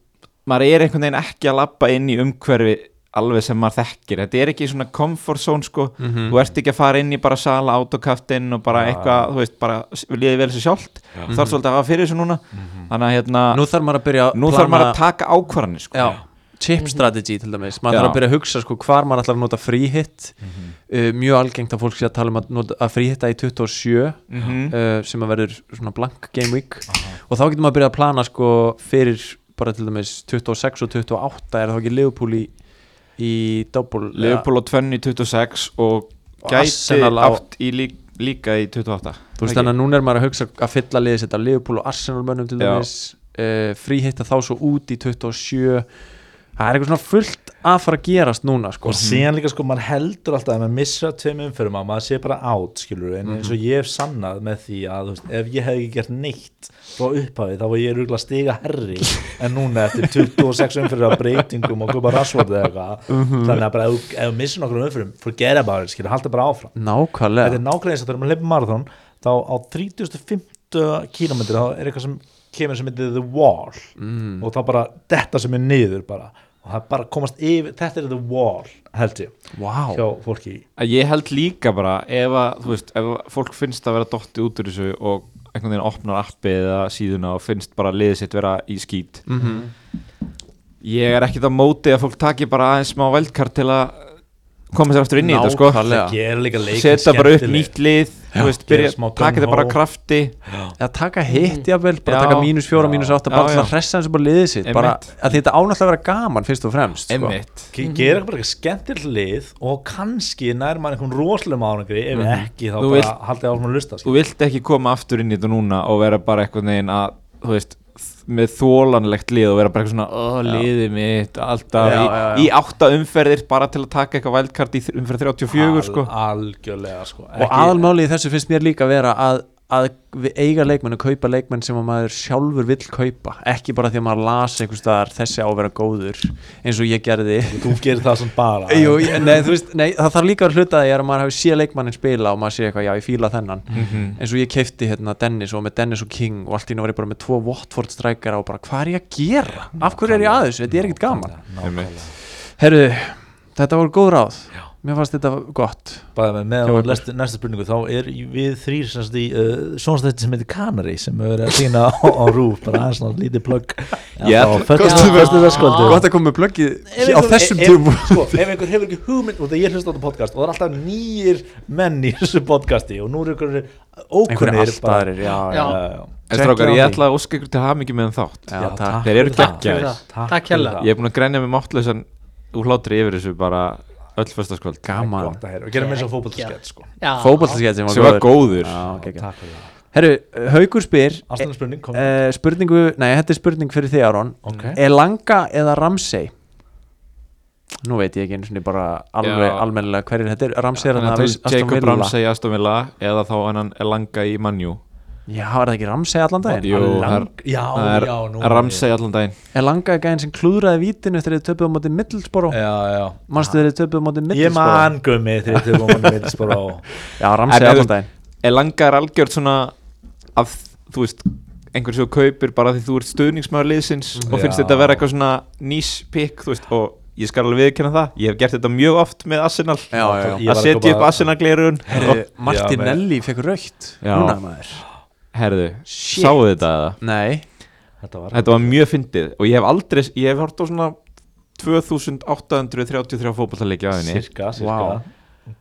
maður er einhvern veginn ekki að lappa inn í umhverfi alveg sem maður þekkir, þetta er ekki svona comfort zone sko, Mhm. þú ert ekki að fara inn í bara sala autokaftinn og bara eitthvað þú veist, bara s- líði vel þessu sjálft þú þarf svolítið að hafa fyrir þessu núna þannig að hérna, Mhm. nú þarf maður að byrja að nú þarf maður að plana- taka ákvarðanir sko. Já, chip strategy til dæmis maður Já. Mhm. þarf að byrja að hugsa sko hvar maður ætlar að nota fríhitt uh, mjög algengt að fólk sé að tala um að, nota, að fríhitta í 27 uh, sem að verður svona blank game week og þá getur maður að byrja að plana sko fyrir bara til dæmis 26 og 28 er þá ekki Liverpool í, í double Leopold og Tvenni 26 og Og gæti Arsenal á- átt í lík, líka í 28 Þú veist þannig að núna er maður að hugsa að fylla liðið sitt af Liverpool og Arsenal mönnum til Já. dæmis uh, fríhitta þá svo út í 27 það er eitthvað svona fullt að fara að gerast núna sko. Og Mhm. síðan líka sko, maður heldur alltaf að maður missa tveim umfyrum að maður sé bara átt, skilur en eins og ég hef sannað með því að þú veist, ef ég hef ekki gert neitt frá upphafi þá var ég rugla stiga herri en núna eftir 26 umfyrir að breytingum og koma rasvort eða eitthvað þannig að bara ef, þú- ef þú missir nokkrum umfyrum forget about it, skilur, halda bara áfram Nákvæmlega Þetta er nákvæmlega eins og þegar maður leipur marathon þá á 35 kílómetri þá er eitthvað sem kemur sem heitir The Wall Mm. og þá bara þetta sem er niður bara og það er bara að komast yfir, þetta er The Wall held ég, Vá, hjá fólki í að ég held líka bara ef að, þú veist, ef að fólk finnst að vera dotti út úr þessu og einhvern veginn opnar appi eða síðuna og finnst bara liðið sitt vera í skít ég er ekkit á móti að fólk taki bara aðeins smá veldkart til að koma sér aftur inn í þetta sko Nákvæmlega. gera líka leikin setja bara upp skemmtileg. nýtt lið þú veist, gera byrja, smá Sko. taka þetta bara gung-ho. af krafti að taka hitt jafnvel, bara Já. taka mínus fjóra, mínus átta bara Já, til já. að hressa eins og bara liðið sitt bara, Einmitt. að þetta ánáttúrulega að vera gaman fyrst og fremst sko. Einmitt. Ge- gera bara eitthvað skemmtilegt lið og kannski nær maður einhvern rosalegum ánangri ef ekki þá Mhm. Þú bara vilt- haldið áfram að sko. lusta þú vilt ekki koma aftur inn í þetta núna og vera bara eitthvað neginn að þú veist, þ- með þólanlegt lið og vera bara eitthvað svona, ó, liðið mitt alltaf Já, í, já, já. í átta umferðir bara til að taka eitthvað vældkart í þr- umferð 34 sko. algjörlega sko og aðalmálið í þessu finnst mér líka að vera að, að við eiga leikmenn og kaupa leikmenn sem að maður sjálfur vill kaupa ekki bara því að maður las einhvers staðar þessi á að vera góður eins og ég gerði þú gerir það sem bara Jú, ég- nei, þú veist, nei, það þarf líka að vera hluta því að maður hafi séð leikmannin spila og maður sé eitthvað, já, ég fíla þennan eins og ég keipti hérna Dennis og með Dennis og King og allt í náttúrulega var ég bara með tvo Watford strækara og bara, hvað er ég að gera? Af hverju er ég að þessu? Þetta er ekkert gaman Herru, þetta voru góð ráð Mér fannst þetta gott Bæði með með Hjá og ykkur. lestu, næsta spurningu þá er í- við þrýr semst í uh, sjónstætti sem heitir Canary sem við verðum að sína á, á rúf bara aðeins svona lítið plögg Já, föstu föstu verðskvöldu Gott að koma með plöggið á þessum tímum sko, ef einhver hefur ekki hugmynd og það ég hlusta á þetta podcast og það er alltaf nýjir menn í þessu podcasti og nú eru einhverjir Einhverju ókunnir alltaf aðrir, já, já, Já. en Check strákar, á ég því. ætla að óska ykkur til hafa mikið með þátt já, takk þeir eru Takk geggjaðir. fyrir það. Takk hérlega. ég er búin að grænja mig máttlausan úr hlátri yfir þessu bara öll föstaskvöld Gaman gott að heyra og gerum eins og fótballskett sko Já. Fótballskett sem sem var var góður góður Já, geggjað. takk fyrir það Herru, Haukur spyr Ástæðan spurning kom Uh, spurningu, nei þetta er spurning fyrir þig Aron Ok. Elanga eða Ramsey Nú veit ég ekki einu sinni bara alveg Já. almennilega hverjir þetta er Ramsey er hann að Aston Jacob Villa. Ramsey í Aston Villa eða þá hennan Elanga í Manjú Já, er það ekki Ramsey allan daginn? Jú, það Lang- er- já, það er já, nú Ramsey allan daginn Elanga er gæðin sem klúðraði vítinu þegar þið töpuðu á móti Middlesboro Eh, já, já Manstu þegar þið töpuðu á móti Ég Middlesboro man gummi þegar þið komum að myndist bara á Já, En Ramsey ef allan þú- daginn Elanga er algjört svona að þú veist einhvern sem þú kaupir bara því þú ert stuðningsmæður liðsins og finnst Já. þetta að vera eitthvað svona nýs pikk þú veist og ég skal alveg viðkynna það ég hef gert þetta mjög oft með Arsenal Já, já, já Ég að var að setja koma- upp Arsenal glerun Herru, Martinelli Martinelli fekk raukt Já. Núna maður herðu, Shit. sáu þetta eða? Nei, Þetta var þetta var mjög fyndið og ég hef aldrei ég hef hort á svona 2833 fótballtaleiki á henni Sirka, sirka Vá.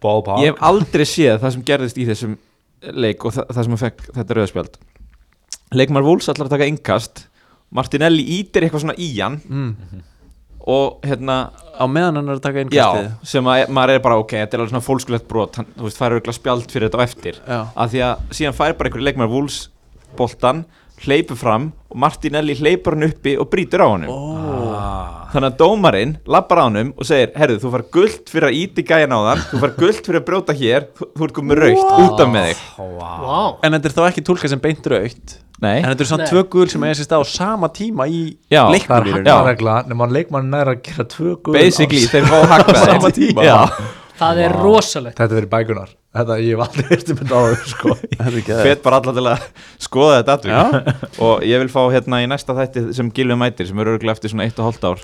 Bob Hart ég hef aldrei séð það sem gerðist í þessum leik og það, það sem að fekk þetta rauðspjald leikmar Vúls allar að taka innkast Martinelli ítir eitthvað svona í hann og hérna á meðan hann er að taka innkastið Já, sem að maður er bara ok, þetta er alveg svona fólkskulegt brot hann, þú veist, fær auðvitað spjald fyrir þetta á eftir Já. af því að síðan fær bara einhverju leikmar Wolves boltan, hleypur fram og Martinelli hleypur hann uppi og brýtur á honum oh. þannig að dómarinn lappar á honum og segir, herðu, þú fær gullt fyrir að íti gæjan á þann þú fær gullt fyrir að brjóta hér þú, þú ert komið raukt, út af með þig wow. en þetta er þá ekki tólka sem beint raukt Nei, en þetta er svona tvö gul sem eiga sér stað á sama tíma í Já, það er leiknum í rauninni. hagnaregla nema leikmann næra að gera tvö guð basically, þeir fá hagnaði Sama tíma. Já, það er rosalegt þetta verið bækunar þetta ég hef aldrei hérst um þetta áður sko. Þetta er geðveikt. fet bara alla til að skoða þetta atvik og ég vil fá hérna í næsta þætti sem Gilvi mætir sem eru örgulega eftir svona eitt og hálft ár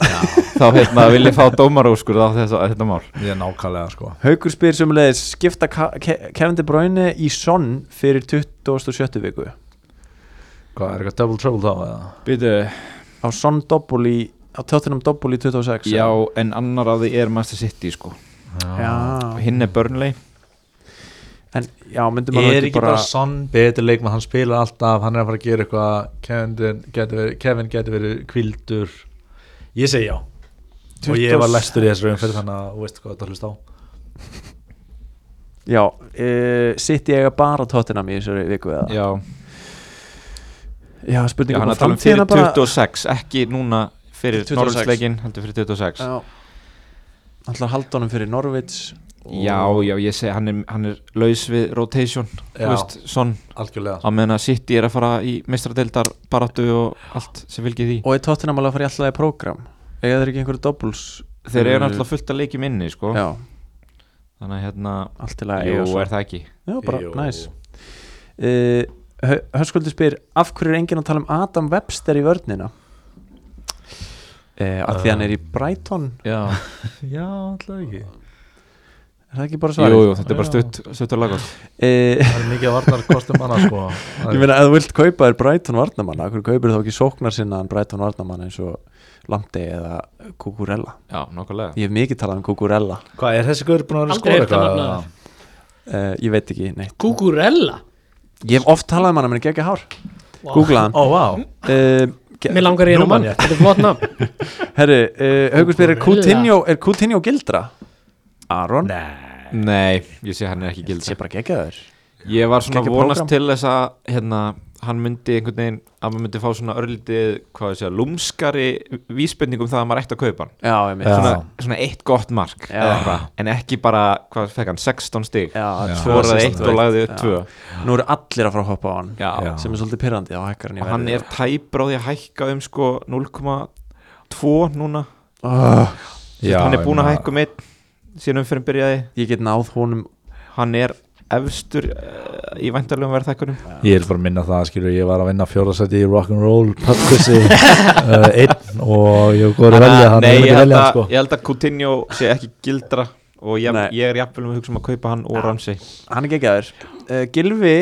þá hérna vil ég fá dómarúskur á þess, á þetta mál ég er nákvæmlega sko. Haukur spyr sömulegis skipta Ka- Ke- Kevin De Bruyne í sonn fyrir 27. viku hvað er eitthvað double trouble þá eða? Býtu, á sonn doppul í á Tottenham doppul í 26 já en annar af því er Master City sko Já. hinn er Burnley en já myndum er ekki bara, Son betur leikmann, hann spila alltaf hann er að fara að gera eitthvað Kevin getur verið, Kevin getur verið kvildur ég segi já og ég var lestur í þessu raun fyrir þannig að þú veist hvað þetta hlust á já uh, sitt ég bara Tottenham í þessari viku eða já, já já spurninga hann er að tala um fyrir 26 ekki núna fyrir 26. Norrlandsleikin heldur fyrir 26 já alltaf halda honum fyrir Norvits já, já, ég segi hann er, hann er laus við rotation, þú Já. veist, svon algjörlega á meðan að City er að fara í mestradeildar baratu og allt sem vilkið því og er Tottenham alveg að fara í alltaf í program eða þeir ekki einhverju doppels Þeir eru náttúrulega fullt að leikjum inni sko. Mm. já Þannig að hérna allt til að Jú, eiga svo. er það ekki já bara Jú. næs uh, Hörskuldur spyr af hverju er enginn að tala um Adam Webster í vörnina uh, af því hann er í Brighton Já, já, alltaf ekki er það ekki bara jú, svarið jú, þetta er bara Já. stutt Stutt og lagast Eh, það er mikið að varnar kostum annað sko ég meina ef þú vilt kaupa þér Brighton varnamanna af hverju kaupir þú þá ekki sóknar sinna en Brighton varnamanna eins og Lamdi eða Kukurella Já, nokkulega ég hef mikið talað um Kukurella hvað er þessi guður búin að vera að Aldrei skora heyrt hann eitthvað nafnið. uh, ég veit ekki neitt Kukurella ég hef oft talað um hann að mér gegja hár Google hann ó, vá uh, ge- mér langar í einu Nú man mann ég. þetta er flott nafn herru, uh, haugur spyrir er Kukurella. Coutinho, er Coutinho gildra? Aron? nei Nei, ég sé hann er ekki gild sé bara gegja þér Ég var svona Gekkja vonast prógram. til þess að hérna, hann myndi einhvern veginn að maður myndi fá svona örlítið hvað ég segja, lúmskari vísbendingum það að maður ætti að kaupa hann já, ég Já. mitt svona, svona eitt gott mark Já. eða eitthvað, en ekki bara, hvað fekk hann, 16 stig Já, tvö skoraði assist eitt og lagði upp Já. tvö Nú eru allir að fara að hoppa á hann Já. Já. sem er svolítið pyrrandi á hækkarinn og hann er tæpur á því að hækka um sko 0,2 núna oh, Já, hann er búin að hækka um einn síðan umferðin byrjaði Ég get náð honum hann er efstur uh, í væntalegum verðþækkunum Ég vil bara minna það, skilur, ég var að vinna fjórðarsæti í rock'n'roll pökkvissi uh, einn og ég voru að velja hann, nei, ég, ég vil ekki held velja að, hann, sko. ég held að Coutinho sé ekki gildra og ég, Nei. ég er jafnvel með hugsa um að kaupa hann og Ramsey Hann er gegjaður uh, Gilvi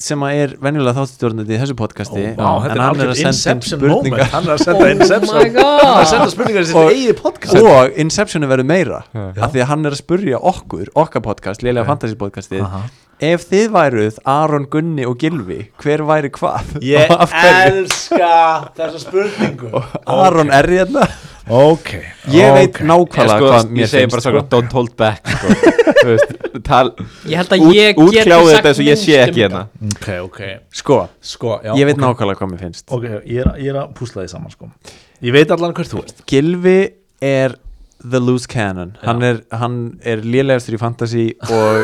sem að er venjulega þáttustjórnandi í þessu podcasti Vá, þetta en er hann algjör er að senda inn Inception moment spurningar Hann er að senda Inception Oh my god. Hann er að senda spurningar í sitt Og- eigið podcast og Inceptionu verður meira af því að hann er að spurja okkur, okkar podcast Lélega Fantasy podcastið Aha. ef þið væruð Aron Gunni og Gilvi hver væri hvað? Ég Og af hverju? elska þessa spurningu Aron er hérna Ok Ég veit nákvæmlega sko, hvað mér ég segi finnst bara sko. svona don't hold back sko. Þú veist, tal, ég held að út, ég geti útkláðu sagt þetta eins og ég sé minnst um ekki hérna Ok, ok Sko, Sko, já ég veit nákvæmlega hvað mér finnst Ok, ég er, ég er að púsla því saman, sko Ég veit allan hvert þú ert Gilvi er the loose cannon hann er, hann er lélegastur í fantasy og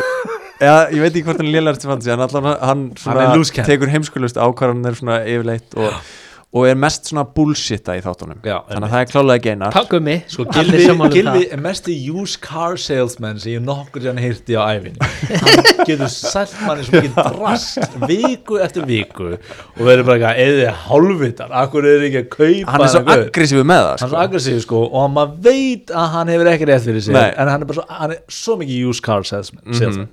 ja, ég veit ekki hvort hann er lélegastur í fantasy hann, allan, hann, svona, Hann er loose cannon. tekur heimskulust ákvarðanir svona yfirleitt og, og er mest svona bullshitta í þáttunum Já, þannig að það er klálega geinar Takk um mig, Sko, allir Gilvi, sammála um Gilvi það. er mesti used car salesman sem ég nokkur hérna heyrti á æfinni hann getur sælt manni sem getur drast viku eftir viku og verður bara eitthvað, eða hálfvitar akkur er ekki að kaupa hann er svo þennan gaur?" aggressífu með það hann er svo sko. aggressív sko og maður veit að hann hefur ekki rétt fyrir sig Nei. Mhm. en hann er bara svo, hann er svo mikið used car salesman, salesman.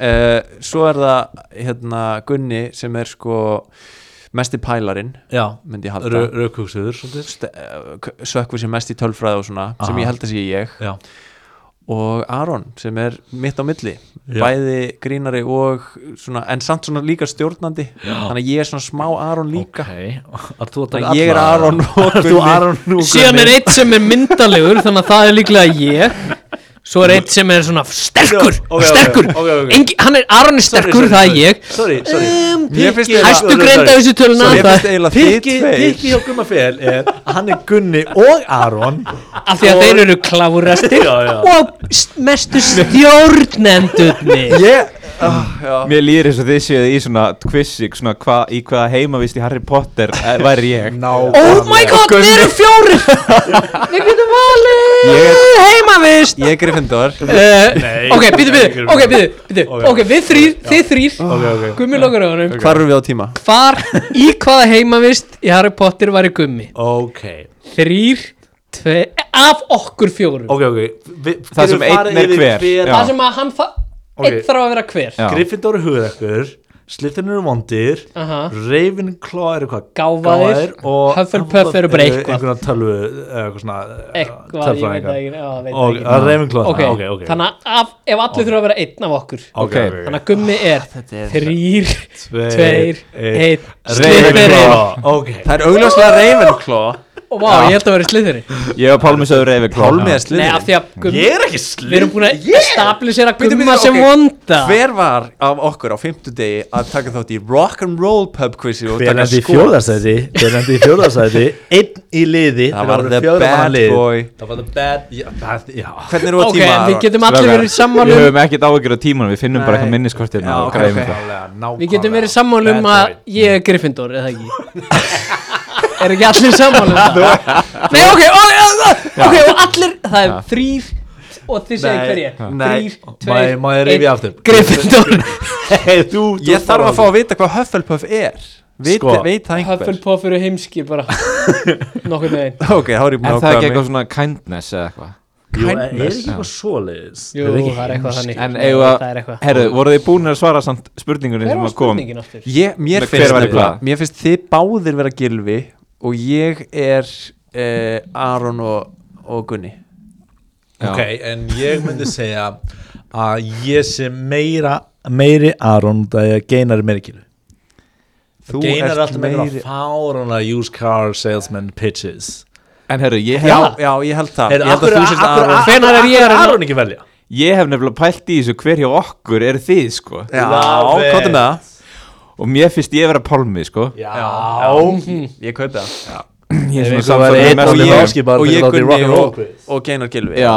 uh, svo er það hérna Gunni sem er sko mesti pælarinn já, myndi ég halda raukugsuður svolítið St- eh, k- sökkvi sem mest í tölfræði og svona sem Aha. ég held að sé ég já, og Aron sem er mitt á milli Já. bæði grínari og svona, en samt svona líka stjórnandi þannig að ég er svona smá Aron líka að þú þannig að ég er Aron og Þú Aron nú síðan er eitt sem er myndalegur þannig að það er líklega ég svo er eitt sem er svona sterkur Já, ok, ok, sterkur, ok, ok. Engi, hann er, Aron er sterkur, sorry, það er sorry. ég Sorry, sorry Um, Mér finnst Pikki- eiginlega- hæstu greind af þessu töluna Mér það finnst eiginlega þið Pikki tveir pikki hjá Gumma Fel er að hann er Gunni og Aron af því að þeir eru klárastir Já, já. og s- mestu stjórnendurnir Ég, ah, já. Mér líður eins og þið séuð í svona quizzik svona hva, í hvaða heimavist í Harry Potter eh, væri ég Ná oh my god, við erum fjórir við getum valið Ég- heimavist ég er Gryffindor Uh, ok, býðu, býðu, ok, býðu, býðu Ok. Ok, við þrýr, þið þrýr Ok, ok. Gummi lokar á honum Hvar eru við á tíma? Hvar, í hvaða heimavist í Harry Potter var í gummi? Ok Þrýr, tvei, af okkur fjórum Ok, ok Vi- Það sem getum við einn farið er yfir hver, já. Það sem að hann, þa Ok. einn þarf að vera hver Já. Gryffindor er hugðekkur Slytherin eru vondir Aha. Ravenclaw eru hvað Gáfaðir. og Hufflepuff eru bara eitthvað. einhverjum tölvu eða eitthvað svona Eitthvað, eh, ég veit tölfræðingar. það ekki, já, veit það og ekki að Ravenclaw Ok, það, ok, ok þannig að af, ef allir þurfa að vera einn af okkur Ok, Ok. ok. Þannig að gummi er þrýr, tveir, einn. einn, slipperinn Ravenclaw, ok Það er augljóslega Ravenclaw Og vá, ég held að vera slithirinn Ég og Pálmi sögur reyfi Pálmi er Nei, af sliðurinn því að gummi Ég er ekki Við erum slip búin að stabilisera Bíddu, gumma bíddu, sem ok. vonda Hver var af okkur á fimmtudegi að taka þátt í rock'n'roll pub quizi og taka Bernandi í skor? fjórðarsæti Bernandi í fjórðarsæti sko. Einn í liði Það þegar var voru the fjögurra manna bad lið. boy Það var the bad Já, það- já. Hvernig eru við á Ok, tíma? en við Aron? getum allir verið Við sammála um höfum ekkert áhyggjur á tímanum, við finnum bara Nei. eitthvað minniskortirna Já, og ok, græfum ok. það. Nákvæmlega. Við getum verið sammála um Bad að boy. ég er Gryffindor, eða ekki? er ekki allir sammála um það? Nei, ok, ok, ok, ok, og allir, það er þrýr og þið segir Nei, hverja nei. Þrýr, Má ég- má ég tveir, rifja aftur? Gryffindor, Hey, þú, þú Ég þarf að fá að vita hvað Hufflepuff er Veit, Sko. veit það einhver? Hufflepuff eru heimskir bara Nokkur neginn Ok, þá er ég búin Er að það ekki ákvæða mig eitthvað svona kindness eða eitthvað? Jú, er ekki kindness? eitthvað svoleiðis Jú, Er ekki það er eitthvað þannig En Nei, eigum við Það er að, eitthvað herru, voru þið búin að svara samt spurningunni Hver sem var að kom? spurningin aftur? Ég, mér, Með finnst hver var í nefnilega- hvað? mér finnst þið báðir vera gilvi og ég er eh, Aron og, og Gunni Já. Ok, en ég myndi segja að ég sé meira meiri Aron það er geinar meiri kilu Þú Geinar ert er alltaf meira meiri- fárana used car salesman pitches En herru, ég Já, hef, já, ég held það Er Ég held að þú sért Aron Hvenær er ég að reyna- Aron ekki velja? ég hef nefnilega pælt í þessu hver hjá okkur er þið, sko. Já, Love it. hvað er með það? Og mér finnst ég vera Pálmi, sko. Já, ég kaupi það Ég er Ef svona einhver samferðið væri einn mest og um ég- það. Áskipaður og fyrir ég þátt í Gunni Rock'n'Roll og, og Geinar Gilvi Já.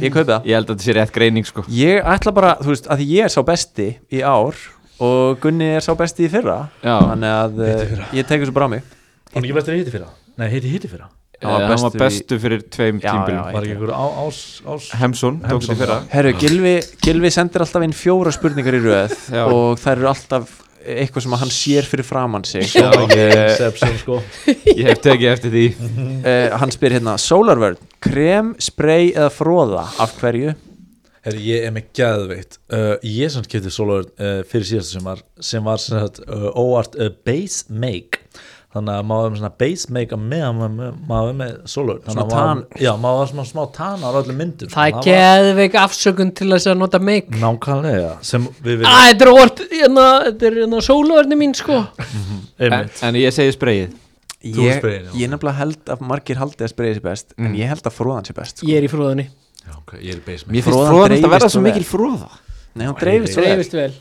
ég kaupi það Ég held að þetta sé rétt greining, sko. ég ætla bara, þú veist, að því ég er sá besti í ár og Gunni er sá besti í fyrra Já. þannig að uh, ég tekur þessu bara á mig Hann ekki bestur í hitti fyrra? Nei, hitti hitti fyrra Eh, Hann var bestu fyrir tveim Já, tímbilum. já, Var ekki einhver á- ás, ás Hemsson, tók Hemson, þetta fyrra. Herru, Gilvi, Gilvi sendir alltaf inn fjóra spurningar í röð Já. og þær eru alltaf eitthvað sem að hann sér fyrir framann sig Já, ég, Inception sko ég hef tekið eftir því. uh, hann spyr hérna Solarvörn, krem, spray eða fróða af hverju? Herri, ég er með gæðveikt uh, Ég samt kefti sólóður uh, fyrir síðasta sumar sem var sem sagt, uh, óvart uh, base make þannig að maður var með svona base make að með maður með, maður var með sólóður Svona Já, maður var svona smá tan á öllum Það myndum er Þannig að geðveik afsökun til þess að nota make var- Nákvæmlega sem Æ, við viljum þetta er orð, hérna, þetta er hérna sóluverni mín, sko En, einmitt en ég segi spreyið. Þú hérna, Ég, sprayin, já. ég nefnilega held að margir haldi að spraya sér best en ég held að fróðan sér best sko. Ég er í fróðunni Já, ok, Ég er í base Mér make finnst Froðan fróðan alltaf dreifist verða svo svo vel. mikil fróða. Nei, hún dreifist svo vel Dreifist vel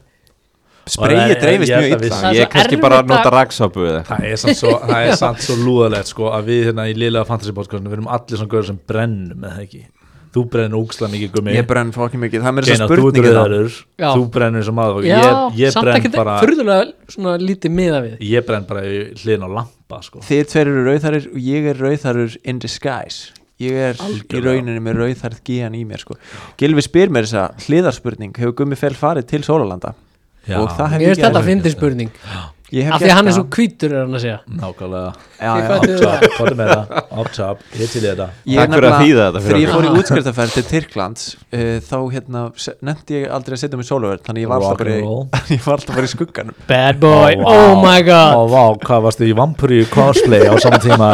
Sprayið Ég- dreifist ég mjög ætla að illa Það er Ég svo kannski erfitt bara að- nota raksápu eða eitthvað. Það er samt svo, það er samt svo lúðalegt sko að við hérna í liðlega fantasy podcastinu við erum allir svona gauður sem brennum eða ekki Þú brennur ógslag mikið gummi Ég brenn fokkin mikið, það er mér svo Geina, þú ert spurningið það rauðarur, Já. þú brennur sem aðfokk Já, ég, ég samt brenn ekki bara furðulega svona lítið miða við ég brenn bara í hliðin á lampa sko. Þið tveir eru rauðarir og ég er rauðarir in disguise Ég er í rauninni með rauðarð gíjan í mér sko. Gilvi spyr mér þessa hliðarspurning Hefur Gummi Fell farið til Sólalanda? Já. Og það hef Mér ég finnst þetta gert. að fyndi spurning Ég hef Af því gert að hann er það. svo hvítur er hann að segja nákvæmlega Já, Þið já. föttuðu það. top, hvað er með það, up top, ég til í þetta Ég Takk fyrir að nefnilega- þýða þetta fyrir Þegar ég okkur. fór í útskriftaferð til Tyrklands uh, Þá hérna, nefndi ég aldrei að setja mig sóluverð Þannig ég var alltaf bara í- Rock'n'roll. ég var alltaf bara í skugganum Bad boy, Ó, vá. oh my god Ó, vá, hvað varstu í vampur í cosplay á saman tíma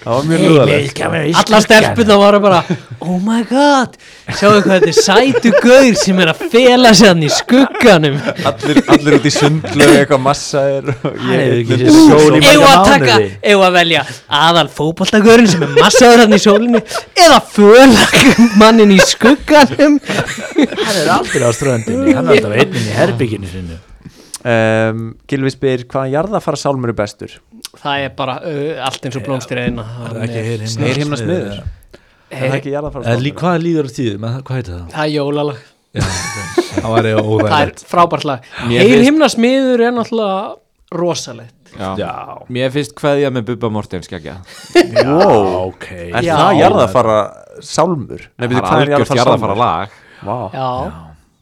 Það það var mjög lúðalegt Alla Alla stelpuna var bara Oh my god Sjáðu hvað þetta er sætu gaur sem er að fela sig hann í skugganum allir, allir út í sundlu eitthvað massa er og Hann hefur ég ekki er séð sól í Eða marga að taka, mánuði. eða að velja aðal fótboltagörin sem er massaður hann í sólinni Eða fölag mannin í skugganum Hann er aldrei á ströndinni, hann er alltaf einnig í herbygginu sinu um, Gilvi spyr hvaða jarðafara sálmur er bestur Það er bara uh, allt eins og blómstrið eina Það er ekki heyr himna Snýr himna smiður smiður. Er Eh, það ekki jarðafara En sálmur? líka hvað líður á tíð, menn, hvað heitir það? Það er jólalag Já, ok. það var ég Það er óvæðilegt frábært lag Mér Heyr finnst- himna smiður er náttúrulega rosalegt Já. Já, Mér finnst kveðja með Bubba Mortens geggja Wow. ok Er Já. það jarðafara sálmur? Það Nei, er byrju, hvað er algjört jarðafara jarðafara sálmur? lag Vá, Já,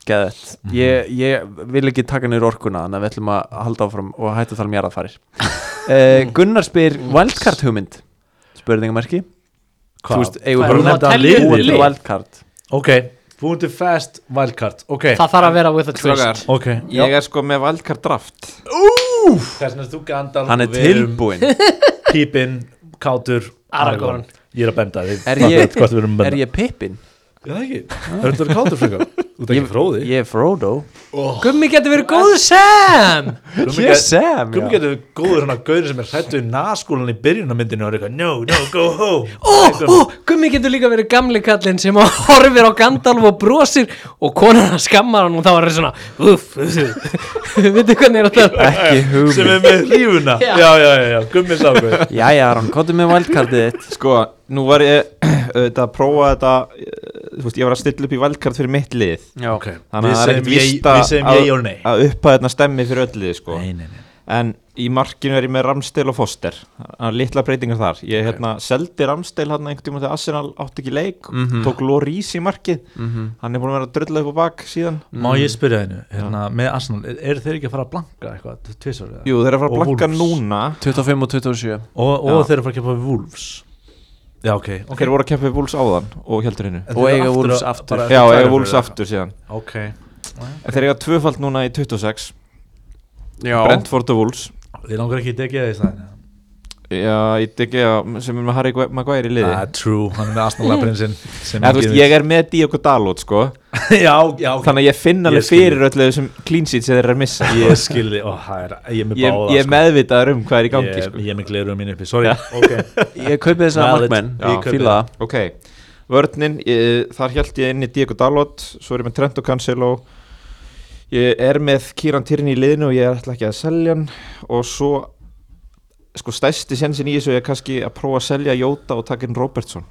geðett ég, ég vil ekki taka niður orkuna þannig að við ætlum að halda áfram og hættu að tala um jarðafarir uh, Gunnar spyr wildcard hugmynd spurningamarki Þú veist, eigum Hvað er við bara það? um? að Teljum búa lið? til wildcard Ok, búin til fast wildcard Ok, það þarf að vera with a Strákar, twist ok ég er sko með Valkar draft Þess að þú gandal Hann er tilbúinn Pípin, Kátur, Aragorn. Ég er að benda þig Er Gott- ég- Gott að við erum að Er benda ég Pippin? Er það ekki? Er þetta Kátur frekar? Þú ert ekki fróði Ég er Frodo Gummi getur verið góð Sam Gummi Ég er gæti- Sam, Gummi já. getur góður hann að gauður sem er hrættu í naskólan í byrjunarmyndinu og er eitthvað No, no, go home Ó, ó, Gummi getur líka verið gamli kallinn sem horfir á Gandalf og brosir og konan hann skammar hann og þá er það svona Uff, uff Veitu hvernig er þetta? Ekki Sem hugmynd er með lífuna Já. Já, já, já, já, Gummi sá hvað Jæja Aron, hvað er með wildcardið þitt? Sko, nú var ég auðvitað að prófa þetta eh, Þú veist, ég var að stilla upp í Valkar fyrir mitt lið Já, Ok, Þannig að það er ekkert víst Við segjum að- ég og nei að upphæðna stemmi fyrir öll lið sko. Nei, nei, nei en í markinu er ég með Ramsdale og Foster Þannig að litla breytingar þar ég hérna, seldi Ramsdale hann einhvern tímann þegar Arsenal átti ekki leik tók Lorís í markið hann er búin að vera að drulla upp á bak síðan Má ég spyrja hennu, hérna, með Arsenal, er, eru þeir ekki að fara að blanka eitthvað, tvisar eða? Jú, þeir eru að fara að Og blanka Wolves. núna 25 og 27 Og, og Já. þeir eru að fara að kempa við Wolves Já, ok, ok þeir voru að keppa við Wolves áðan og heldur hennu En Og þeir eru eiga aftur Wolves að- aftur. bara- Já, þeir eru ég klárir Wolves fyrir aftur síðan það. Ok, En Þeir eiga tvöfald núna í 26 Já, Brentford og Wolves þið langar ekki að degja það í staðinu Já, ég degi að sem er með Harry Gu- Maguire í liði Ah, true, hann er með Arsenal-leprinsinn sem Eða, þú veist, Ég er með Diogo Dalot sko Já, já, ok Þannig að ég finn alveg Ég skil. fyrir öllu þessum clean sheets eða þeir eru að missa Ég skilði, ó, það er, ég er með Ég, báða ég er sko. meðvitaður um hvað er í gangi ég, sko. ég er með glerum mín uppi, sorry ok, ég kaupið þess að Valid. markmenn Já. Ég fíla það Ok, vörninn, ég, þar held ég inn í Diego Dalot, svo er ég með Trent og Cancelo Ég er með Kíran Tyrni í liðinu og ég ætla ekki að selja hann Og svo, sko stæsti sensin í þessu er kannski að prófa að selja Jóta og taka inn Robertson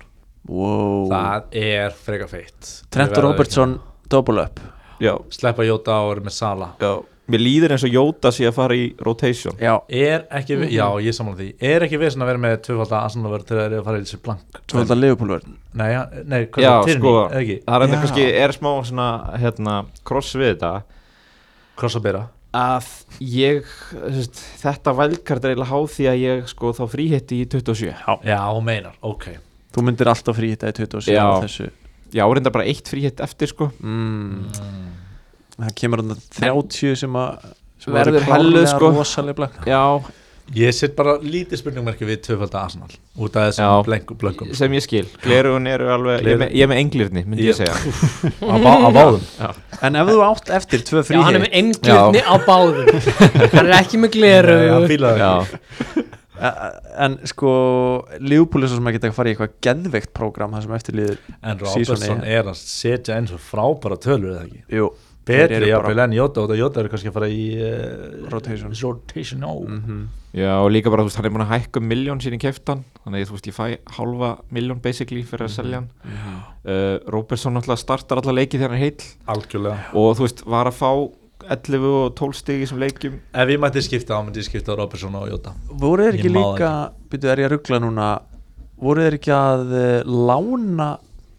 wow. það er freka feitt Trent og Robertson double up Já, sleppa Jóta og er með Sala já Mér líður eins og Jóta sé að fara í rotation Já, er ekki, mm já, ég samanlega því er ekki vesen að vera með tvöfalda Arsenal-vörð til þeir eru að fara í þessu blank tvölda Leopoldvörn nei, ja, nei, hvað Já, er það, sko, Tyrni, eða ekki það er enda Já. kannski, er smá svona, hérna, kross við þetta Krossabera, að ég, þvist, þetta velkart er eiginlega háð því að ég sko þá fríhitti í 27 já, hún meinar, ok Þú myndir alltaf fríhitta í 27 Já. á þessu Já, reynda bara eitt fríhitt eftir sko mm. Það kemur hann 30 sem að sem Verður eru helluð, klárlega sko. rosaleg blank. Já, ég set bara lítið spurningmerki við tvöfalda Arsenal út af Já. þessum blank- blönkum sem ég skil Glerugun eru alveg, ég er með, ég er með englirni myndi ég Ég- segja á, bá, á báðum En ef þú átt eftir tvö Já, hann er fríhitt með englirni á báðum Hann er ekki með gleru Nei, hann fílaði það. Já, En sko Leopold er svo sem að geta að fara í eitthvað geðveikt prógram það sem eftir líður en Season Robertson eiga. er að setja eins og frábæra tölur eða ekki Jú, Þeir betri eru jafnvel bara- en Jota og Jota eru kannski að fara í uh, Rotation. Mhm. rotation no. já og líka bara, þú veist, hann er búin að hækka um miljón sín í keftan Þannig að þú veist, ég fæ hálfa miljón basically fyrir að selja hann uh, Robertson náttúrulega startar alla leiki þegar hann er heill algjörlega Og þú veist, var að fá 11 og 12 stigi sem leikjum ef ég mætti skipta þá myndi ég skipta á Robertson og Jota voru þeir ekki Ég má það líka Býtu, er ég að ruggla núna Voru þeir ekki að eh, lána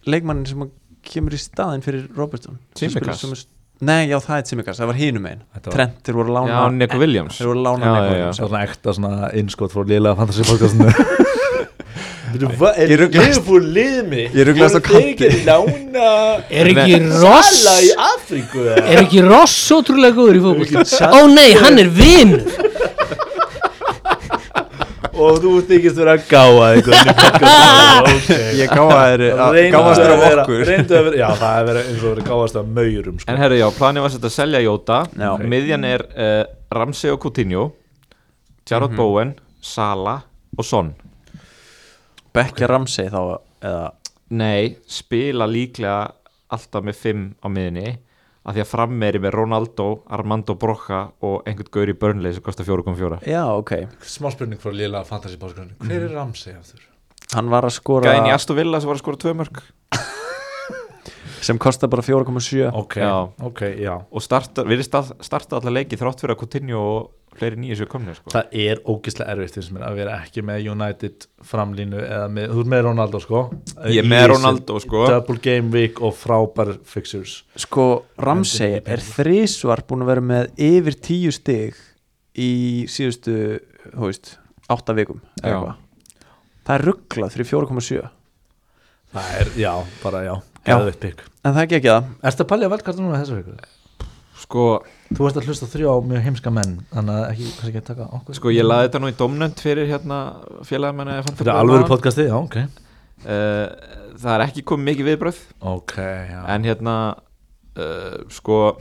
leikmannin sem að kemur í staðin fyrir Robertson Sem Tsimikas. spilar sömu st- Nei, já, það er Tsimikas, það var hinum einn Þetta var- Trentir voru að Já, lána Neko Williams Þeir voru að lána Já, leikmann já, já. svona ekta svona innskot frá liðlega fantasy podcastinu Þú, hva, er Ég ruglast. Liverpool lið mig Ég ruglast á Voru þeir ekki lána Er ekki Sala í ross Afríku eða? Er ekki ross ótrúlega góður í Er ekki fótbolta Sala- Ó nei, hann er vinn og þú þykist vera að gáða einhvern í podcastinu, ok. Ég gáðaðir að Reyndu að gáðastur af vera- okkur reyndu að vera, já það er verið eins og verið gáðast af maurum sko. En herru, já, planið var sett að selja Jóta Já. Miðjan er uh, Ramsey og Coutinho Jarrod Bowen, Sala og Son Bekkja Ramsey þá eða, Nei, spila líklega alltaf með fimm á miðinni af því að frammeri með Ronaldo, Armando Broca og einhvern gaur í Burnley sem kostar 4,4 Já, ok Smá spurning frá Lila Fantasy Básgrunni Hver er Ramsey aftur? Hann var að skora Gæðin í Aston Villa sem var að skora tvö mörg sem kostar bara 4,7 Ok, Já. ok, já og starta, við erum stað, starta alltaf leiki þrátt fyrir að Coutinho og fleiri nýju sér komni sko. Það er ógislega erfitt finnst mér að vera ekki með United framlínu eða með, þú er með Ronaldo sko Ég er með Lýsir- Ronaldo, sko. Double game week og frábær fixtures Sko, Ramsey er þrísvar búin að vera með yfir 10 stig í síðustu, þú veist, 8 vikum eða Já. eitthvað. Það er rugglað fyrir 4,7 en Það er, já, bara já, Já. geðvitt pikk það er ekki það Ertu að palja velkart núna þessu viku? sko, Þú ert að hlusta á þrjá mjög heimska menn þannig að ekki, kannski ekki að taka okkur sko, ég laði þetta nú í domnönd fyrir hérna félagamenni Fyrir alvöru podcasti, já, ok Eh, Það er ekki komið mikið viðbröð Ok, já en hérna uh, sko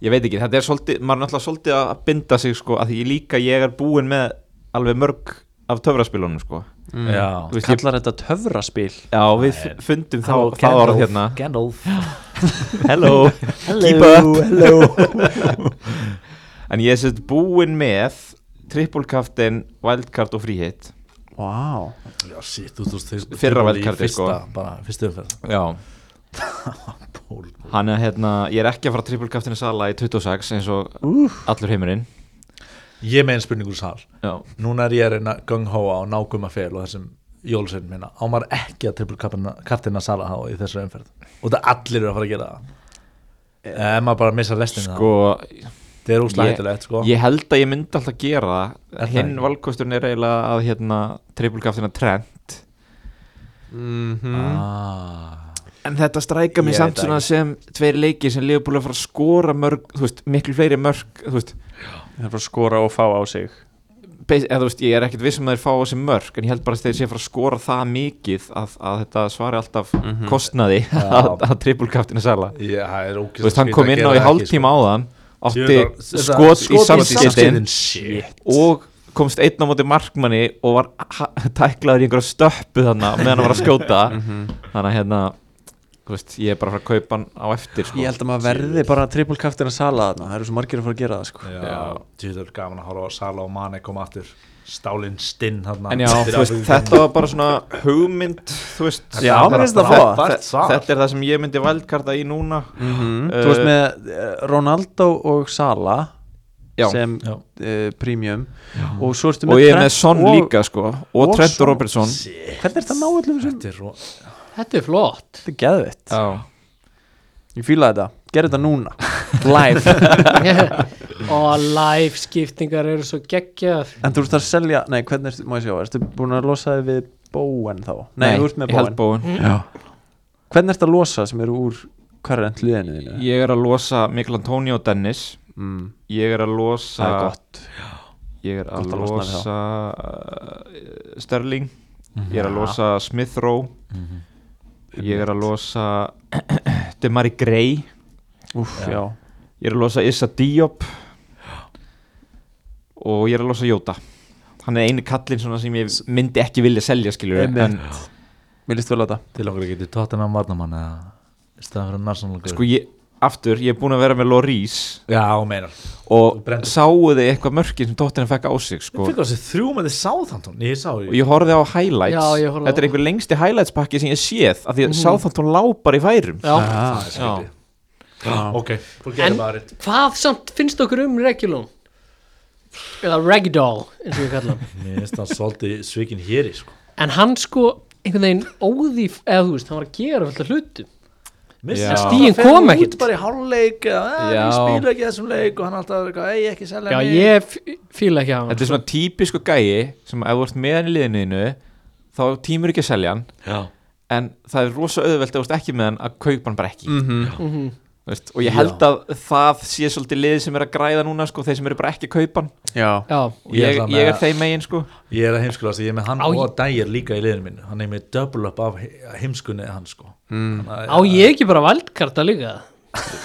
ég veit ekki, þetta er svolítið maður er náttúrulega svolítið að binda sig sko að því ég líka ég er búinn með alveg mörg af töfraspilunum sko Já. Þú veist, ég, kallar þetta töfraspil já við f- fundum þá, Hello, þá orð Gandalf. hérna Gandalf hello, keep up en ég er sérst búinn með trippulkaftin, wildcard og fríhitt wow. Já, shit, þú þú veist Fyrra í wildcardið, sko. fyrsta, bara, fyrstu umferð já Pól hann er hérna, ég er ekki að fara trippulkaftinu sala í 26 eins og allur heimurinn Ég með einn spurningur sal já, núna er ég að reyna gung-hóa og nákvæma fel og þessum jólsveinu minna á maður ekki að trippul kartina sala á í þessu umferð og það allir eru að fara að gera það ef maður bara missa lestin Eh, sko það það er úslega Ég- hættilegt sko Ég held að ég myndi alltaf gera Er það það Hinn ekki? valkosturinn er eiginlega að hérna trippulkaftina trend Mm. ah, En þetta stræka mig mig Ég samt samt veit svona svona sem tveir leiki sem Leopold að fara að skora mörg, þú veist, miklu fleiri mörg þú veist, það er bara að skora og fá á sig beis, eða, þú veist, ég er ekkert viss um að þeir fá þessi mörg en ég held bara að þeir sé að fara að skora það mikið að, að þetta svari alltaf Mhm. kostnaði að, að trippulkaftina sala ég, það er Þú veist, hann kom inn á í sko. hálftíma áðan átti skot í samskiptin shit og komst einn á móti markmanni og var ha- tæklaður í einhverja stöppu þannig meðan hann var að skjóta Mhm. þannig að hérna þú veist, ég er bara að fara að kaupa hann á eftir sko. ég held að maður verði bara trippulkaftin að sala þarna það eru svo margir að fara að gera það sko. Tjóður gaman að horfa á Sala og Mane koma aftur Stálinn stinn hann en já, þú veist, þetta var bara svona hugmynd þú veist, Já, mér finnst það þetta- frábært svar. þetta er það sem ég myndi valdkarta í núna Mhm. mm, þú veist með eh, Ronaldo og Sala já, sem Já. uh, premium og svo ertu og ég er Trent með Son og- líka sko, og og Trent Son. og Robertson hvernig er þetta að ná öllum sem Þetta er ro- Þetta er flott þetta er geðvitt já, Ég fíla þetta, gerðu þetta núna Live Og live skiptingar eru svo geggjað En þú ert að selja, nei hvernig ertu, má ég sjá Ertu búin að losa þig við bóen þá? Nei, þú ert með ég held bóen bóin Hvernig ertu að losa sem eru úr Hverrent liðinu þínu? ég er að losa Mikl Antonio og Dennis mm, ég er að losa það er gott Ég er að Gott að losna við Mhm. losa uh, Sterling Ég er að losa Smith Rowe Ég er að losa Demari Gray Úff, já, Ég er að losa Issa Diop Og ég er að losa Jóta Hann er einu kallinn svona sem ég myndi ekki vilja selja skilur En einmitt Mér líst vel á þetta Til okkur ekki til Tottenham varnamann eða í staðan fyrir National Guard sko ég Aftur, ég er búin að vera með Lorís Já, hún meinar Og brenndir. sáu þið eitthvað mörkin sem Tottenham fekk á sig sko. Þú fikk á þessi þrjú með þið Southampton Ég sá og ég horfði á highlights Já, ég horfði á- Mhm. þetta er einhver lengsti highlights pakki sem ég séð af því að Southampton lápar í færum Já. já. Ok, En- Hvað samt finnst okkur um Regulon? Eða Ragdoll eins og ég kalla hann Mér finnst það svolítið svikin hér í sko En hann sko einhvern veginn óði eða þú veist, hann var að gera alltaf hlutum Missir En það. stigin Fer hún kom Út ekkert. bara í hálfleik eða, "Eh, Já. Ég spila ekki þessum leik Og hann alltaf eitthvað, ei ekki selja Já, mig." ég f- fíla ekki hann Þetta er svona típisku gæi sem ef þú ert með hann í liðinu þínu, þá tímur ekki að selja hann Já. Mhm. en það er rosa auðvelt ef þú ert ekki með hann að kaupa hann bara ekki Mhm. mm -hmm. veist, og ég held að það sé svolítið liðið sem er að græða núna sko, þeir sem eru bara ekki að kaupa hann Já, Já, og Ég ég, ætla ég, með er að- þeim megin sko Ég er að heimskula þess að ég er með hann Á, og dægir líka í liðinu mínu Hann er með double up af he- heimskunni hans sko mm. á ég ekki bara valdkarta líka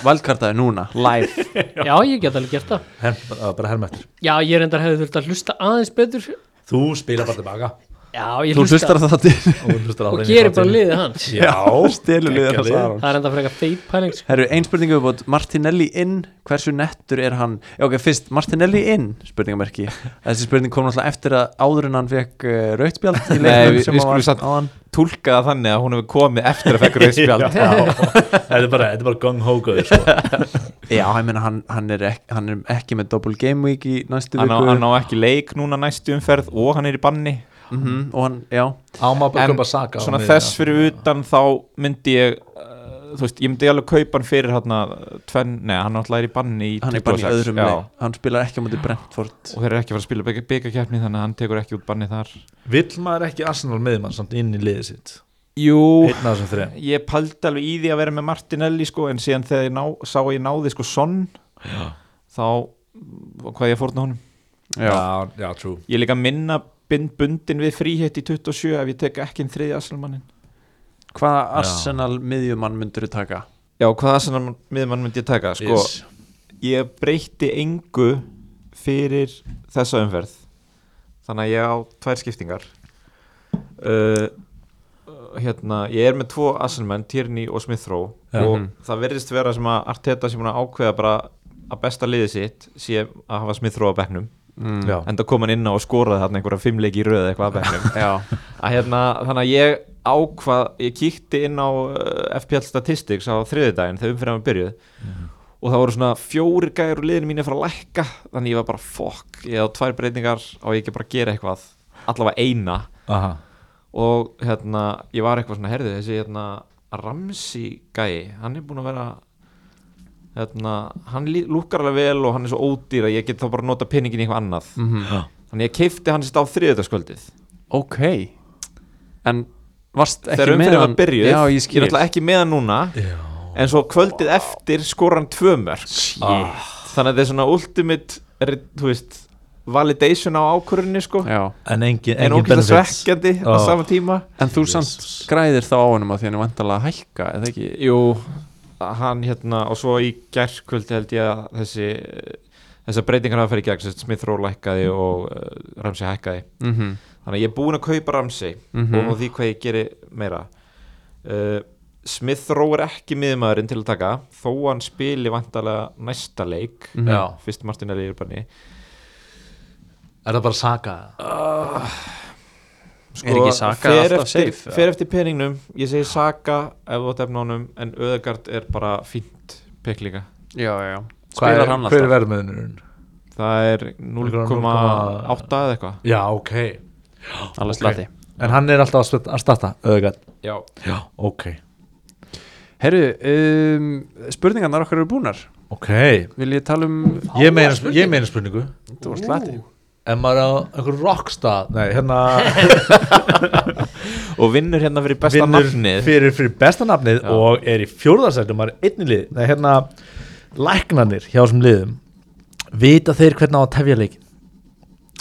valdkartaði núna, live Já, ég get alveg gert það Her, að bara hermættur Já, ég reyndar hefði þurft að hlusta aðeins betur Þú spila bara tilbaka Já, ég Þú hlustar hlusta það til og, hlustar á og hreinu gerir bara þáttinn. liðið hans Já, Stelur liðið geggjað hans lið. Aron. Það er enda frekar feit pæling sko. Herru, ein spurningu við bótt, Martinelli inn, hversu nettur er hann? Já, ok, fyrst, Martinelli inn, spurningamerki. Þessi spurning kom náttúrulega eftir að áður en hann fekk uh, rautspjald í Nei, leiknum við- sem við skulum hann var samt- áðan. tólka það þannig að hún hefur komið eftir að fekk Já, rauðspjald Þetta er bara, þetta er bara gung hókaður sko. Já, ég meina, hann, hann, er ekki, hann er ekki með double game week í næstu hann, viku á- hann á ekki leik núna næstu umferð og hann er í banni Mhm, og hann, já, Áma bara En köpa saka á svona miðjuna. þess fyrir utan þá myndi ég uh, þú veist, ég myndi alveg kaupa hann fyrir hann tvenn, neða hann alltaf er í banni í hann er bara í 26, öðrum já. leik. Hann spilar ekki á móti Brentford. og þeir eru ekki að fara að spila byggakefni þannig að hann tekur ekki út banni þar Vill maður ekki Arsenal miðmann samt inn í liðið sitt Jú, Einn af þessum þreim ég paldi alveg í því að vera með Martinelli sko, en síðan þegar ég ná, sá að ég náði sko Son þá mm, hvað ég fórna honum Já, já, true ég er líka minna bind bundin við fríhet í 27 ef ég tek ekki en þriði asalmannin Hvaða Arsenal miðjumann myndur þú taka? já, hvað asalmann miðmann myndi ég taka sko, Yes. ég breytti engu fyrir þessa umferð þannig að ég á tvær skiptingar uh, hérna, ég er með tvo Assenmenn, Tierney og Smithrow Já. Mhm. og það verðist vera sem að Arteta sem búin að ákveða bara að besta liðið sitt sé að hafa Smithrow á bekknum Mm. Já, enda kom hann inn á og skoraði þarna einhverja fimmleiki í röð eða eitthvað að bekknum Já, að hérna, þannig að ég ákvað ég kíkti inn á uh, FPL Statistics á þriðudaginn þegar umfyrir að byrjuð og það voru svona fjóri gæður úr liðinu mínu að fara að lækka þannig ég var bara fokk, ég á tvær breytingar og ég ekki bara að gera eitthvað, allavega eina aha og hérna, ég var eitthvað svona herðið þessi hérna Ramsi gæi hann er búin að vera hérna, hann lí- lúkkar alveg vel og hann er svo ódýr að ég get þá bara nota peningin í eitthvað annað Mhm. þannig ég keifti hann sitt á þriðudagskvöldið ok. En varst ekki þegar með umfyrir var hann- byrjuð Já, ég er skil. alltaf ekki með hann núna en svo kvöldið eftir skora hann tvö mörg ah. þannig að þetta er svona ultimate er, þú veist, validation á ákvörðinni sko. Já. En engin, en engin ógæðlega benefits svekkjandi á Ah. sama tíma En þú samt græðir þá á honum að því hann er vantalega að hækka, eða ekki? jú, hann hérna og svo í gerkvöldi held ég að þessi þessar breytingar hafa fyrir gegn sem sagt, Smith Rowe lækkaði og uh, Ramsey hækkaði Mm þannig að ég er búinn að kaupa Ramsey Mhm. og á því hvað ég geri meira uh, Smith Rowe er ekki miðmaðurinn til að taka þó hann spili vantarlega næsta leik Mhm. Já. fyrst Martinelli er banni Er það bara saka? Sko, Er ekki Saka fer alltaf eftir, safe, eða? fer eftir peningnum, ég segi Saka ef þú tefna honum, en Öðegard er bara fínt pekk líka Já, já, já. Hvað Spilar er- hann Hver er alltaf? verðmiðunurinn? það er 0,8 eða eitthvað Já, ok Alveg Ok. slati. En hann er alltaf að spil- að starta Öðgat Já. Já, ok Herru, um, spurningarnar okkar eru búnar. Ok Vil ég tala um... Ég meina, ég meina spurningu Þú var slati. En maður á einhver rockstar Nei, hérna og vinnur hérna fyrir besta vinnur nafnið fyrir, fyrir besta nafnið og er í fjórðarsættu maður er einn í lið Nei, hérna, læknanir hjá þessum liðum vita þeir hvernig á að tefja leikin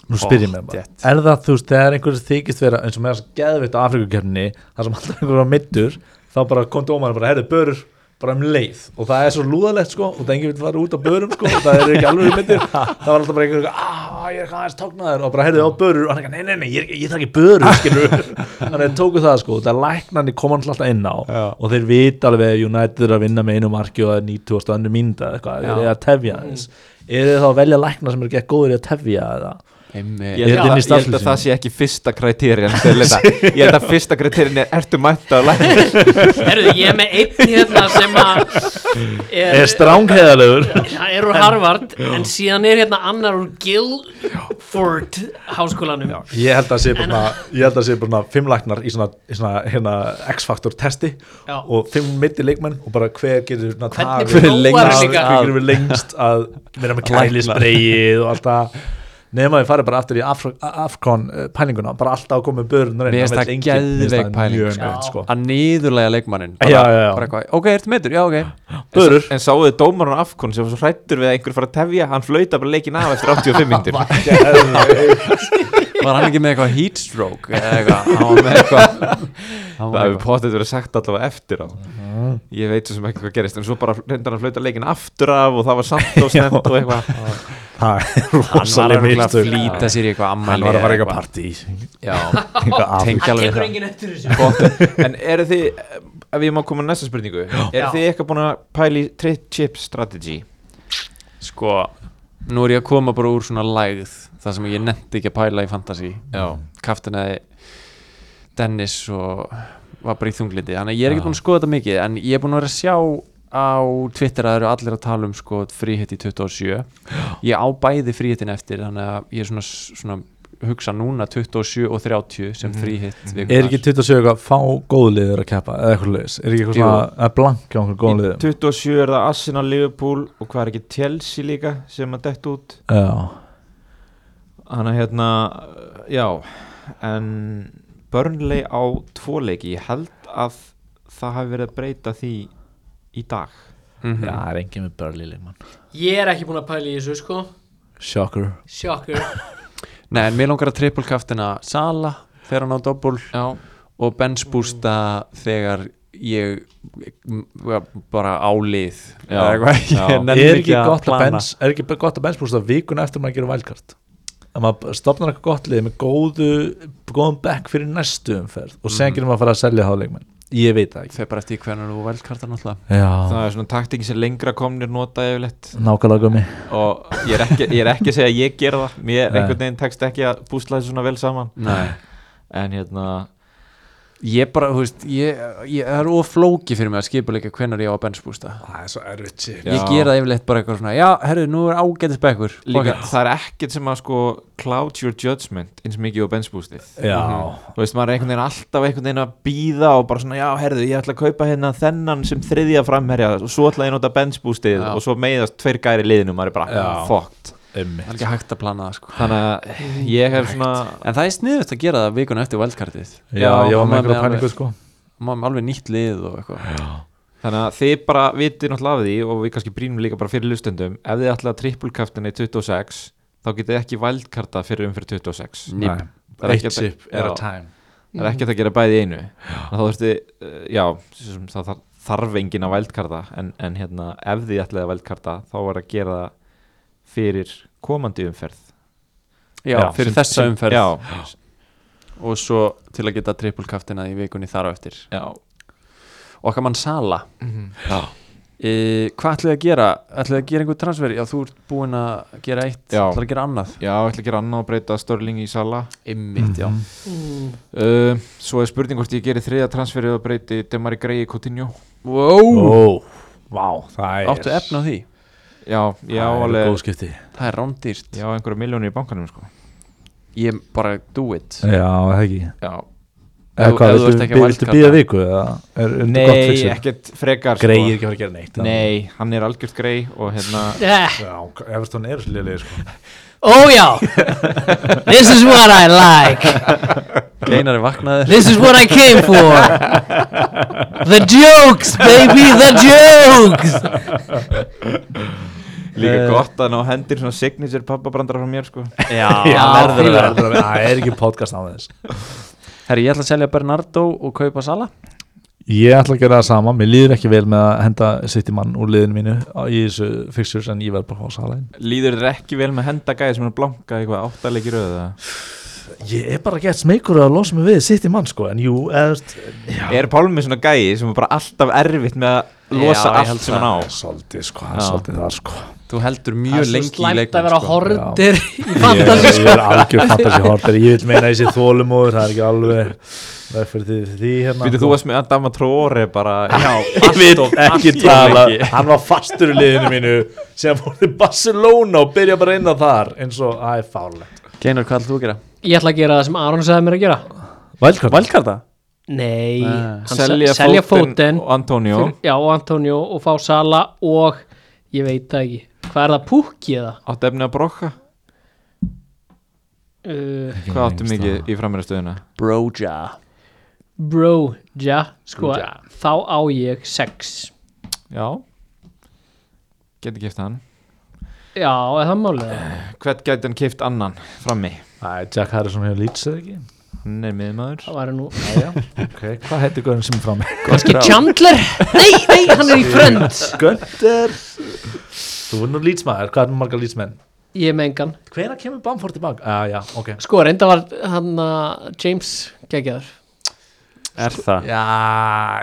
nú spyr ég mig bara Pottþétt. er það þú veist þegar einhverjum þykist vera eins og með þess að geðvitt á Afrikukerninni þar sem alltaf einhverjum var middur þá bara kom dómarinn bara herðu börur bara um leið og það er svo lúðalegt sko og það enginn vil fara út á börum sko og það er ekki alveg myndir það var alltaf bara einhverjum að ég er eitthvað aðeins tóknaður og bara heyrðu á börur og hann eitthvað nei nei nei ég, er- ég þarf ekki börur skilur þannig að tóku það sko það læknarnir kom hann alltaf inn á og þeir vita alveg ef United er að vinna með einu marki og það er 90 og annu mínúta eða eitthvað þeir eru að tefja þess eru þið þá að velja læknar sem eru ekki góður í að tefja eða Einmi... Ég Er þetta held, að, ég inn í held að starfsliðsinu? það sé ekki fyrsta kriterjan til þetta. Ég held að fyrsta kriterjan er Ertu mætta að lækna Herðu, ég er með einn hérna sem að er, er strángheðalegur hann er úr Harvard en síðan er hérna annar úr Guildford háskólanum Ég held að sé bara, ég held að sé bara fimm læknar í svona, í svona hérna, X-faktor testi Já. og fimm mitti leikmenn og bara hver getur svona Hvernig tafið- prófar lengst- líka? hver getur lengst að vera með kælisbreið og allt það nema við farið bara aftur í Afro- Afcon eh, pælinguna, bara alltaf að koma með börnur Mér finnst það geðveik pæling, mjög sko. neitt sko Að niðurlega leikmannin. Já, já, já. Bara eitthvað, ok, ertu meitur? Já, ok. Börur. En, en sáuðu þið dómarun afkon sem var svo hrættur við að einhver fara að tefja Hann flauta bara leikin af eftir 85 myndir Var hann ekki með eitthvað heat stroke eða eitthvað, hann var með eitthvað Það hann var hefur eitthvað potið verið sagt allavega eftir á Ég veit svo sem ekki hvað gerist En svo bara reyndar hann að flauta leikin aftur af Og það var samt og snemt og eitthvað Það er Hann var rosalega örugglega að mistök flýta sér í eitthvað ammæli Hann var að fara í eða eitthvað partí Já, Eitthvað af- tengja alveg tekur það enginn eftir þessu Gott. En eru þið, ef ég má koma að næsta spurningu Eru þið eitthvað búin að pæli Trip chip strategy Sko, nú er ég að koma bara úr svona lægð Það sem ég nefndi ekki að pæla í fantasy Já. Kaftinaði Dennis og var bara í þunglindi Þannig að ég er ekki búin að skoða þetta mikið En ég er búin að vera að sjá á Twitter að það eru allir að tala um sko fríhitt í 27 Ég á bæði fríhittin eftir Þannig að ég er svona, svona hugsa núna 27 og 30 sem fríhitt Mhm. Er ekki 27 eitthvað fá góðliður að keppa eða eitthvað leiðis? Er ekki eitthvað Jú. svona að blanka á einhver Í góðliðum? 27 er það Arsenal, Liverpool og hvað er ekki Chelsea líka sem að dett út Já, Þannig að hérna, já en Burnley á tvoleiki, ég held að það hafi verið að breyta því í dag mm Já, það er engin með Burley mann Ég er ekki búin að pæla í þessu sko Shocker Sjokker Nei, en mér langar að triple kaftina Sala þegar hann á doppul Já, og benchbústa þegar ég m- var bara álið Já, já. er Er ekki gott að bens Er ekki bara gott að bens búst að vikuna eftir maður að gera valkart að maður stopnar eitthvað gott lið með góðu góðum back fyrir næstu umferð og sen getur maður að fara að selja háleikmenn Ég veit það ekki þau bara eftir hvernig þú velkartar náttúrulega Já, það er svona taktíki sem lengra komnir nota yfirleitt nákvæmlega gummi og ég er ekki, ég er ekki að segja að ég gera það mér Nei. einhvern veginn tekst ekki að búsla þessu svona vel saman Nei. en hérna, ég bara, þú veist ég, ég það er oflóki fyrir mig að skipa líka hvernig ég á að benchbústa Það er svo erfitt shit ég Já. gera það yfirleitt bara eitthvað svona já, herru, nú er ágætis bekkur líka, Pocket. það er ekkert sem að sko cloud your judgment eins mikið og benchboostið Já, þú veist, maður er einhvern veginn alltaf einhvern veginn að býða og bara svona, já, herðu, ég ætla að kaupa hérna þennan sem þriðja framherja og svo ætla ég að nota benchboostið Já. og svo meiðast tveir gæri í liðinu, maður er bara Já. fucked ummi það er ekki hægt að plana það sko þannig að ég hef svona en það er sniðust að gera það vikuna eftir velkartið Já, ég var með maður einhverja pælingu alveg- sko maður með alveg nýtt lið og eitthvað þannig að þið bara vitið náttúrulega af því og við kannski brínum líka bara fyrir lustendum ef þið ætla að trippulkaftinni 26 þá getið þið ekki vældkarta fyrir umfyrir 26 Nip. Nei. Það er ekki Eitt að- chip er Já. a time það er ekkert að gera bæði í einu þá þurfti, uh, já, sem, það þarf- þarf engin að vældkarta en, en hérna, ef þið ætlaði að vældkarta þá var að gera það fyrir komandi umferð já, Já, fyrir Sem- þessa sem- umferð já, og svo til að geta trippulkaftina í vikunni þar á eftir já. okkar mann Sala e, hvað ætlið þið að gera? ætlið þið að gera einhver transfer? já, þú ert búinn að gera eitt Já. ætlið að gera annað já, ég ætla að gera annað og breyta Störling í Sala ymmit, já uh, svo er spurning hvort ég geri þriða transferið og breyti Demari Grey í Coutinho wow. Ó, vá, það er áttu efna á því? já, já, Það eru alveg Góð skipti það er rándýrt já, einhverja miljónir í bankanum sko. ég bara do it Já, það er ekki já, Ef- Eða hvað, ef þú ert viltu, ekki bí- að viltu wildcarda. býða viku eða er, er nei, gott nei, fixið? ekkert frekar sko. Grey er ekki að fara að gera neitt nei, hann er algjört Grey og hérna Eh, Já, Everton er liðlega sko Ó já oh, This is what I like Einar er vaknaður This is what I came for The jokes baby The jokes líka Eh. gott að ná hendir svona signature pappabrandara frá mér sko já, verður að vera. vera Það er ekki podcast á þess herri, ég ætla að selja Bernardo og kaupa Sala Ég ætla að gera það sama, mér líður ekki vel með að henda sitt í mann úr liðinu mínu á- í þessu fixtures en ég verð bara að fá salæn Líður þér ekki vel með henda gæði sem er að blanka eitthvað áttalegir auða? Ég er bara gett smekur að losa mig við sitt í mann sko en jú, eðast Er Pálmi svona gæði sem er bara alltaf erfitt með að losa Já, ég held allt sem hann á? Svolítið sko, Já. svolítið það sko þú heldur Það er mjög svo lengi í slæmt að leiknum vera sko. hordir í Ég, fantasy ég er algjör fantasi hortar, ég vil meina þessi þólumóður, það er ekki alveg verð fyrir því, því hérna Býtu þú varst með Adama Traore bara já, ég vil allt of- ekki allt of tala lengi. hann var fastur í liðinu mínu sem fór til Barcelona og byrja bara inn á þar eins og það er fálegt Einar, hvað ætlið þú að gera? Ég ætla að gera það sem Aron sagði mér að gera Vælkart Valkarta? Nei, Nei. hann selja, selja fóten og Antonio fyrir, Já, og Antonio og fá Sala og ég veit það ekki Hvað er það, Pukki eða? áttu efni að brokka? Uh, Hvað áttu mikið í framherjastöðuna? Broja bro, ja, sko Ja. Þá á ég 6 Já, geti kipt hann Já, eða það málið hvern geti hann kipt annan frammi Æ, Jack Harrison hefur lýtsað ekki hann er miðmaður Það var nú Ok, hvað heitir Gunn sem er frá mig? Kanski Chandler? Nei, nei, hann er í frönd Gunnar Þú er nú lýtsmaður, hvað er nú marga lýtsmenn? Ég með engan Hvenær kemur Bamford tilbaka? Ah, já, ok Sko, reynda var hann að James geggjaður er það Já,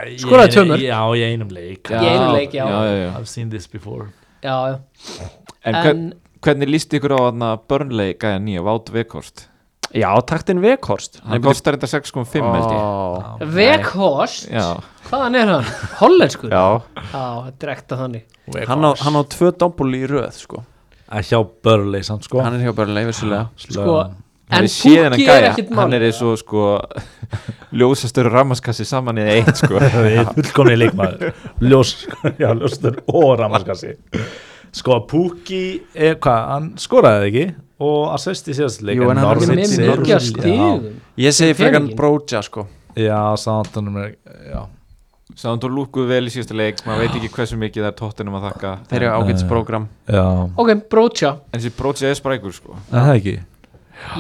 ég- Skoraði tvö mörk. Já, í einum leik Í einum leik, já. já, já, já. I've seen this before Já, já en hvern, En, hvernig líst ykkur á hann að Burnley gæja nýja Vátt Vekhorst já, taktin Vekhorst hann kostar þetta 6.5 held ég oh. Vekhorst Já, Hvaðan er hann? Hollenskur? já, Já, direkta þannig hann á, hann á tvö doppul í röð sko. Að hjá Börley samt sko hann er hjá bara leifisulega Sko, hann en er síðan Pukki að er gæja ekkit Hann mál er eins og sko ljósastur ramaskassi saman í eitt sko Fullkomni leikmaður Ljós, já, ljóstur og ramaskassi Sko, Pukki er hvað, hann skoraði ekki og assist í síðast leik Jú, en hann Hann er er Norwich með er- mikið Já. stíðum ég segi frekan Peningin. Broja sko. Já, Southampton er Já, Sáðan þú lúkuðu vel í síðasta leik maður veit ekki hversu mikið það er tóttinum að þakka þeir eru ágætis program já Ok, Brocha En þessi brótsið er sprækur sko Er það ekki?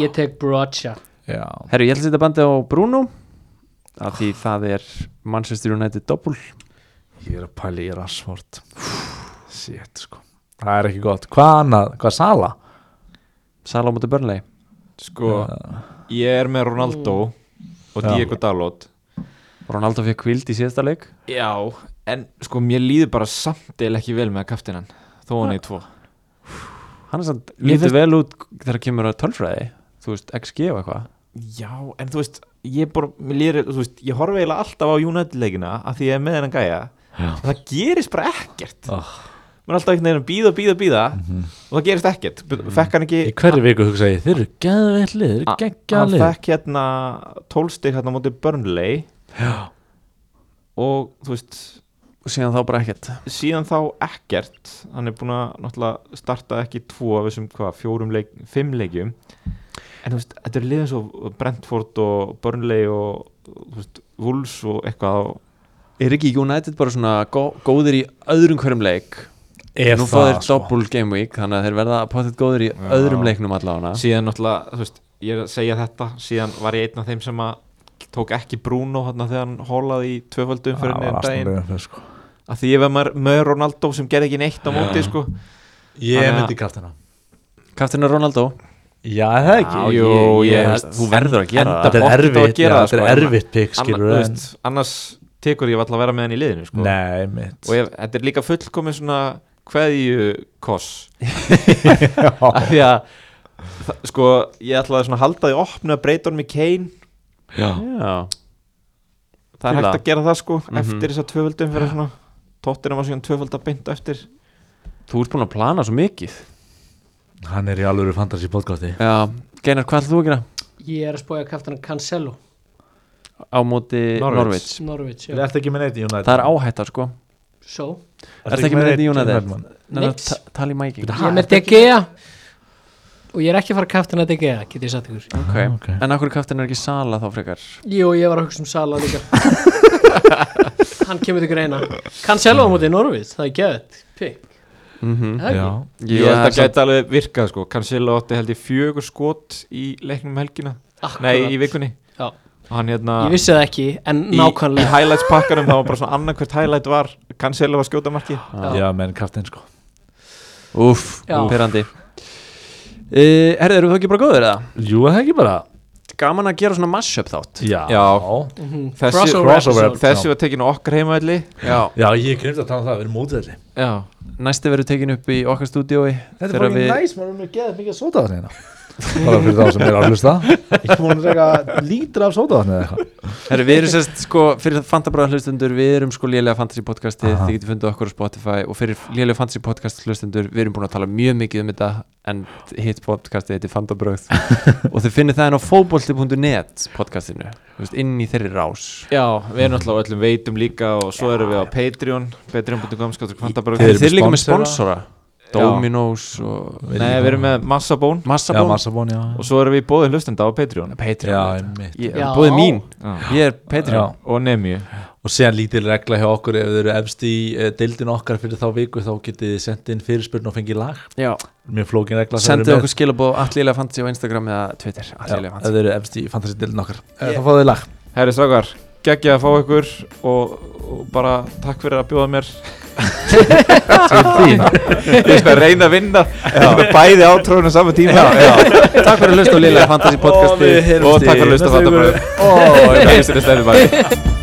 Ég tek Brocha Já herru, ég ætla að setja bandið á Bruno af því það er Manchester United doppul Ég er að pæla í Rashford Shit, sko Það er ekki gott Hvað annað? Hvað Sala? Salamóti Burnley Sko, ég er með Ronaldo og Já. Diego Dalot Ronaldo fyrir kvild í síðasta leik Já, en sko mér líður bara samt eða ekki vel með kaftinan þó hann er tvo hann er samt Mér lítið finnst- vel út þegar kemur að tölfræði þú veist, XG og eitthvað Já, en þú veist ég bara, mér líður, þú veist, ég horfi eiginlega alltaf á United-leikina að því ég er með hennan gæja og það gerist bara ekkert Oh. maður er alltaf einhvern veginn að býða, býða, býða og það gerist ekkert, fekk hann ekki Mhm. Í hverju viku hugsa ég Þeir eru geðveitt lið Þeir Ah, eru A- geggjað hann lið fekk hérna tólstig hérna á móti Burnley Já. og þú veist og síðan þá bara ekkert síðan þá ekkert hann er búin að náttúrulega starta ekki tvo af þessum hvað, fjórum leik, fimm leikjum en þú veist, þetta er liðin svo Brentford og Burnley og þú veist, Wolves og eitthvað og, er ekki United bara svona gó góðir í öðrum hverjum leik Ef nú fá þeir sko. doppul game week þannig að þeir verða potið góðir í öðrum leiknum allavega síðan náttúrulega, þú veist, ég er að segja þetta síðan var ég einn af þeim sem að tók ekki Bruno hérna þegar hann hólaði í tvöföldum fyrir Það var henni daginn aðstæðan fyrir sko að því ég var maður með Ronaldo sem gerði ekki neitt á móti sko. Ég Þannig að- myndi kraftina Kaftina Ronaldo Já, er það ekki Já, jú, ég- þú verður að gera enda- Þetta það er pottþétt á að erfitt gera já, það, Þetta sko, er en- erfitt pikk Anna, skilur þú en- veist, annars tekur ég alltaf að vera með hann í liðinu sko. Nei, mitt og ég, þetta er líka fullkomin svona kveðju koss af Já. því að þa- sko, ég ætlaði svona að halda því opnu að breyta honum í Kane Já. það er Fíla. hægt að gera það sko Mhm. eftir þess að tvöföldum fyrir svona tóttina var svona tvöföld að bynda eftir þú ert búin að plana svo mikið Hann er í alvöru fantasy podcasti Já, Geinar, hvað ætlum þú að gera? Ég er að spója kaftan Cancelo Á móti Norwich. Norvits Norwich, Er já þetta ekki með neitt í United? Það er áhætta sko Svo Ertu ekki með neitt í United? mann? Nei, Nix. ta- Tali Mæking Ég er með De Gea Og ég er ekki að fara kaftan að De Gea, get ég sagt ykkur okay. ok. En akkur kaftin er ekki Sala þá frekar Jú, ég var að hugsa um Sala líka Hann kemur til greina Cancelo á móti Norvits, það er gæðið Pikk, mm -hmm. það er Já ekki ég held að gæta alveg virkað sko Cancelo átti held ég fjögur skot í leiknum um helgina Akkurat. nei, í vikunni Já. og hann hérna Ég vissi það ekki, en í, í nákvæmlega highlights pakkanum það var bara svona annarkvært highlight var Cancelo að skjóta marki Já. Já, menn kraftin sko Úff, Já. perandi uh, Herðu, eru þú ekki bara góður eða? Jú, er það ekki bara Gaman að gera svona mashup þátt Já Já. Mhm. Þessi- Crossover crossover episode. þessi var tekinu okkar heimaðli Já, Já, ég glemt að tala um það, við erum mótvelli já Næsti verður tekin upp í okkar stúdíói Þetta er þegar bara við- við... næs, maður er með geðað mikið sótavatni hérna Bara fyrir þá sem er að hlusta Ég múin að reyka lítra af sótavatni eða eitthvað Herru, við erum sérst sko, fyrir fantabræða hlustundur, við erum sko lélega fantasy podcasti, þið getur fundið okkur á Spotify og fyrir lélega fantasy podcast hlustundur, við erum búin að tala mjög mikið um þetta en hitt podcastið heitir fantabræð og þið finnir það en á fótbolti.net podcastinu, þú veist, inn í þeirri rás. Já, við erum alltaf á öllum veitum líka og svo erum við á Patreon patreon.com skáttur kvantabröð Þið Þeir, eruð þeir með eru líka með sponsora? sponsora, Dominos og Nei, við erum með Massabón Já, Massabón, massabón, já og svo erum við bóðin hlustenda á Patreon Patreon, Já, mitt ég, Já. bóðið mín, Já. ég er Patreon og Nemi og og séðan lítil regla hjá okkur ef þið eru efst í uh, deildin okkar fyrir þá viku þá getið þið sendið inn fyrirspurn og fengið lag Já, mjög flókin regla sem sendið eru með. okkur skilabóð allilega fantasy á Instagram eða Twitter Já, allilega ef fantasy þið eru efst í fantasy deildin okkar yeah. þá fáðu þið lag Herri Sagar, geggja að fá ykkur og, og bara takk fyrir að bjóða mér Ég skal reyna að vinna bæði átrónu saman tíma já, já. Takk fyrir að hlusta á Lilega Fantasy podcasti og takk fyrir að hlusta að fatta bara og ég veist þetta stæði bara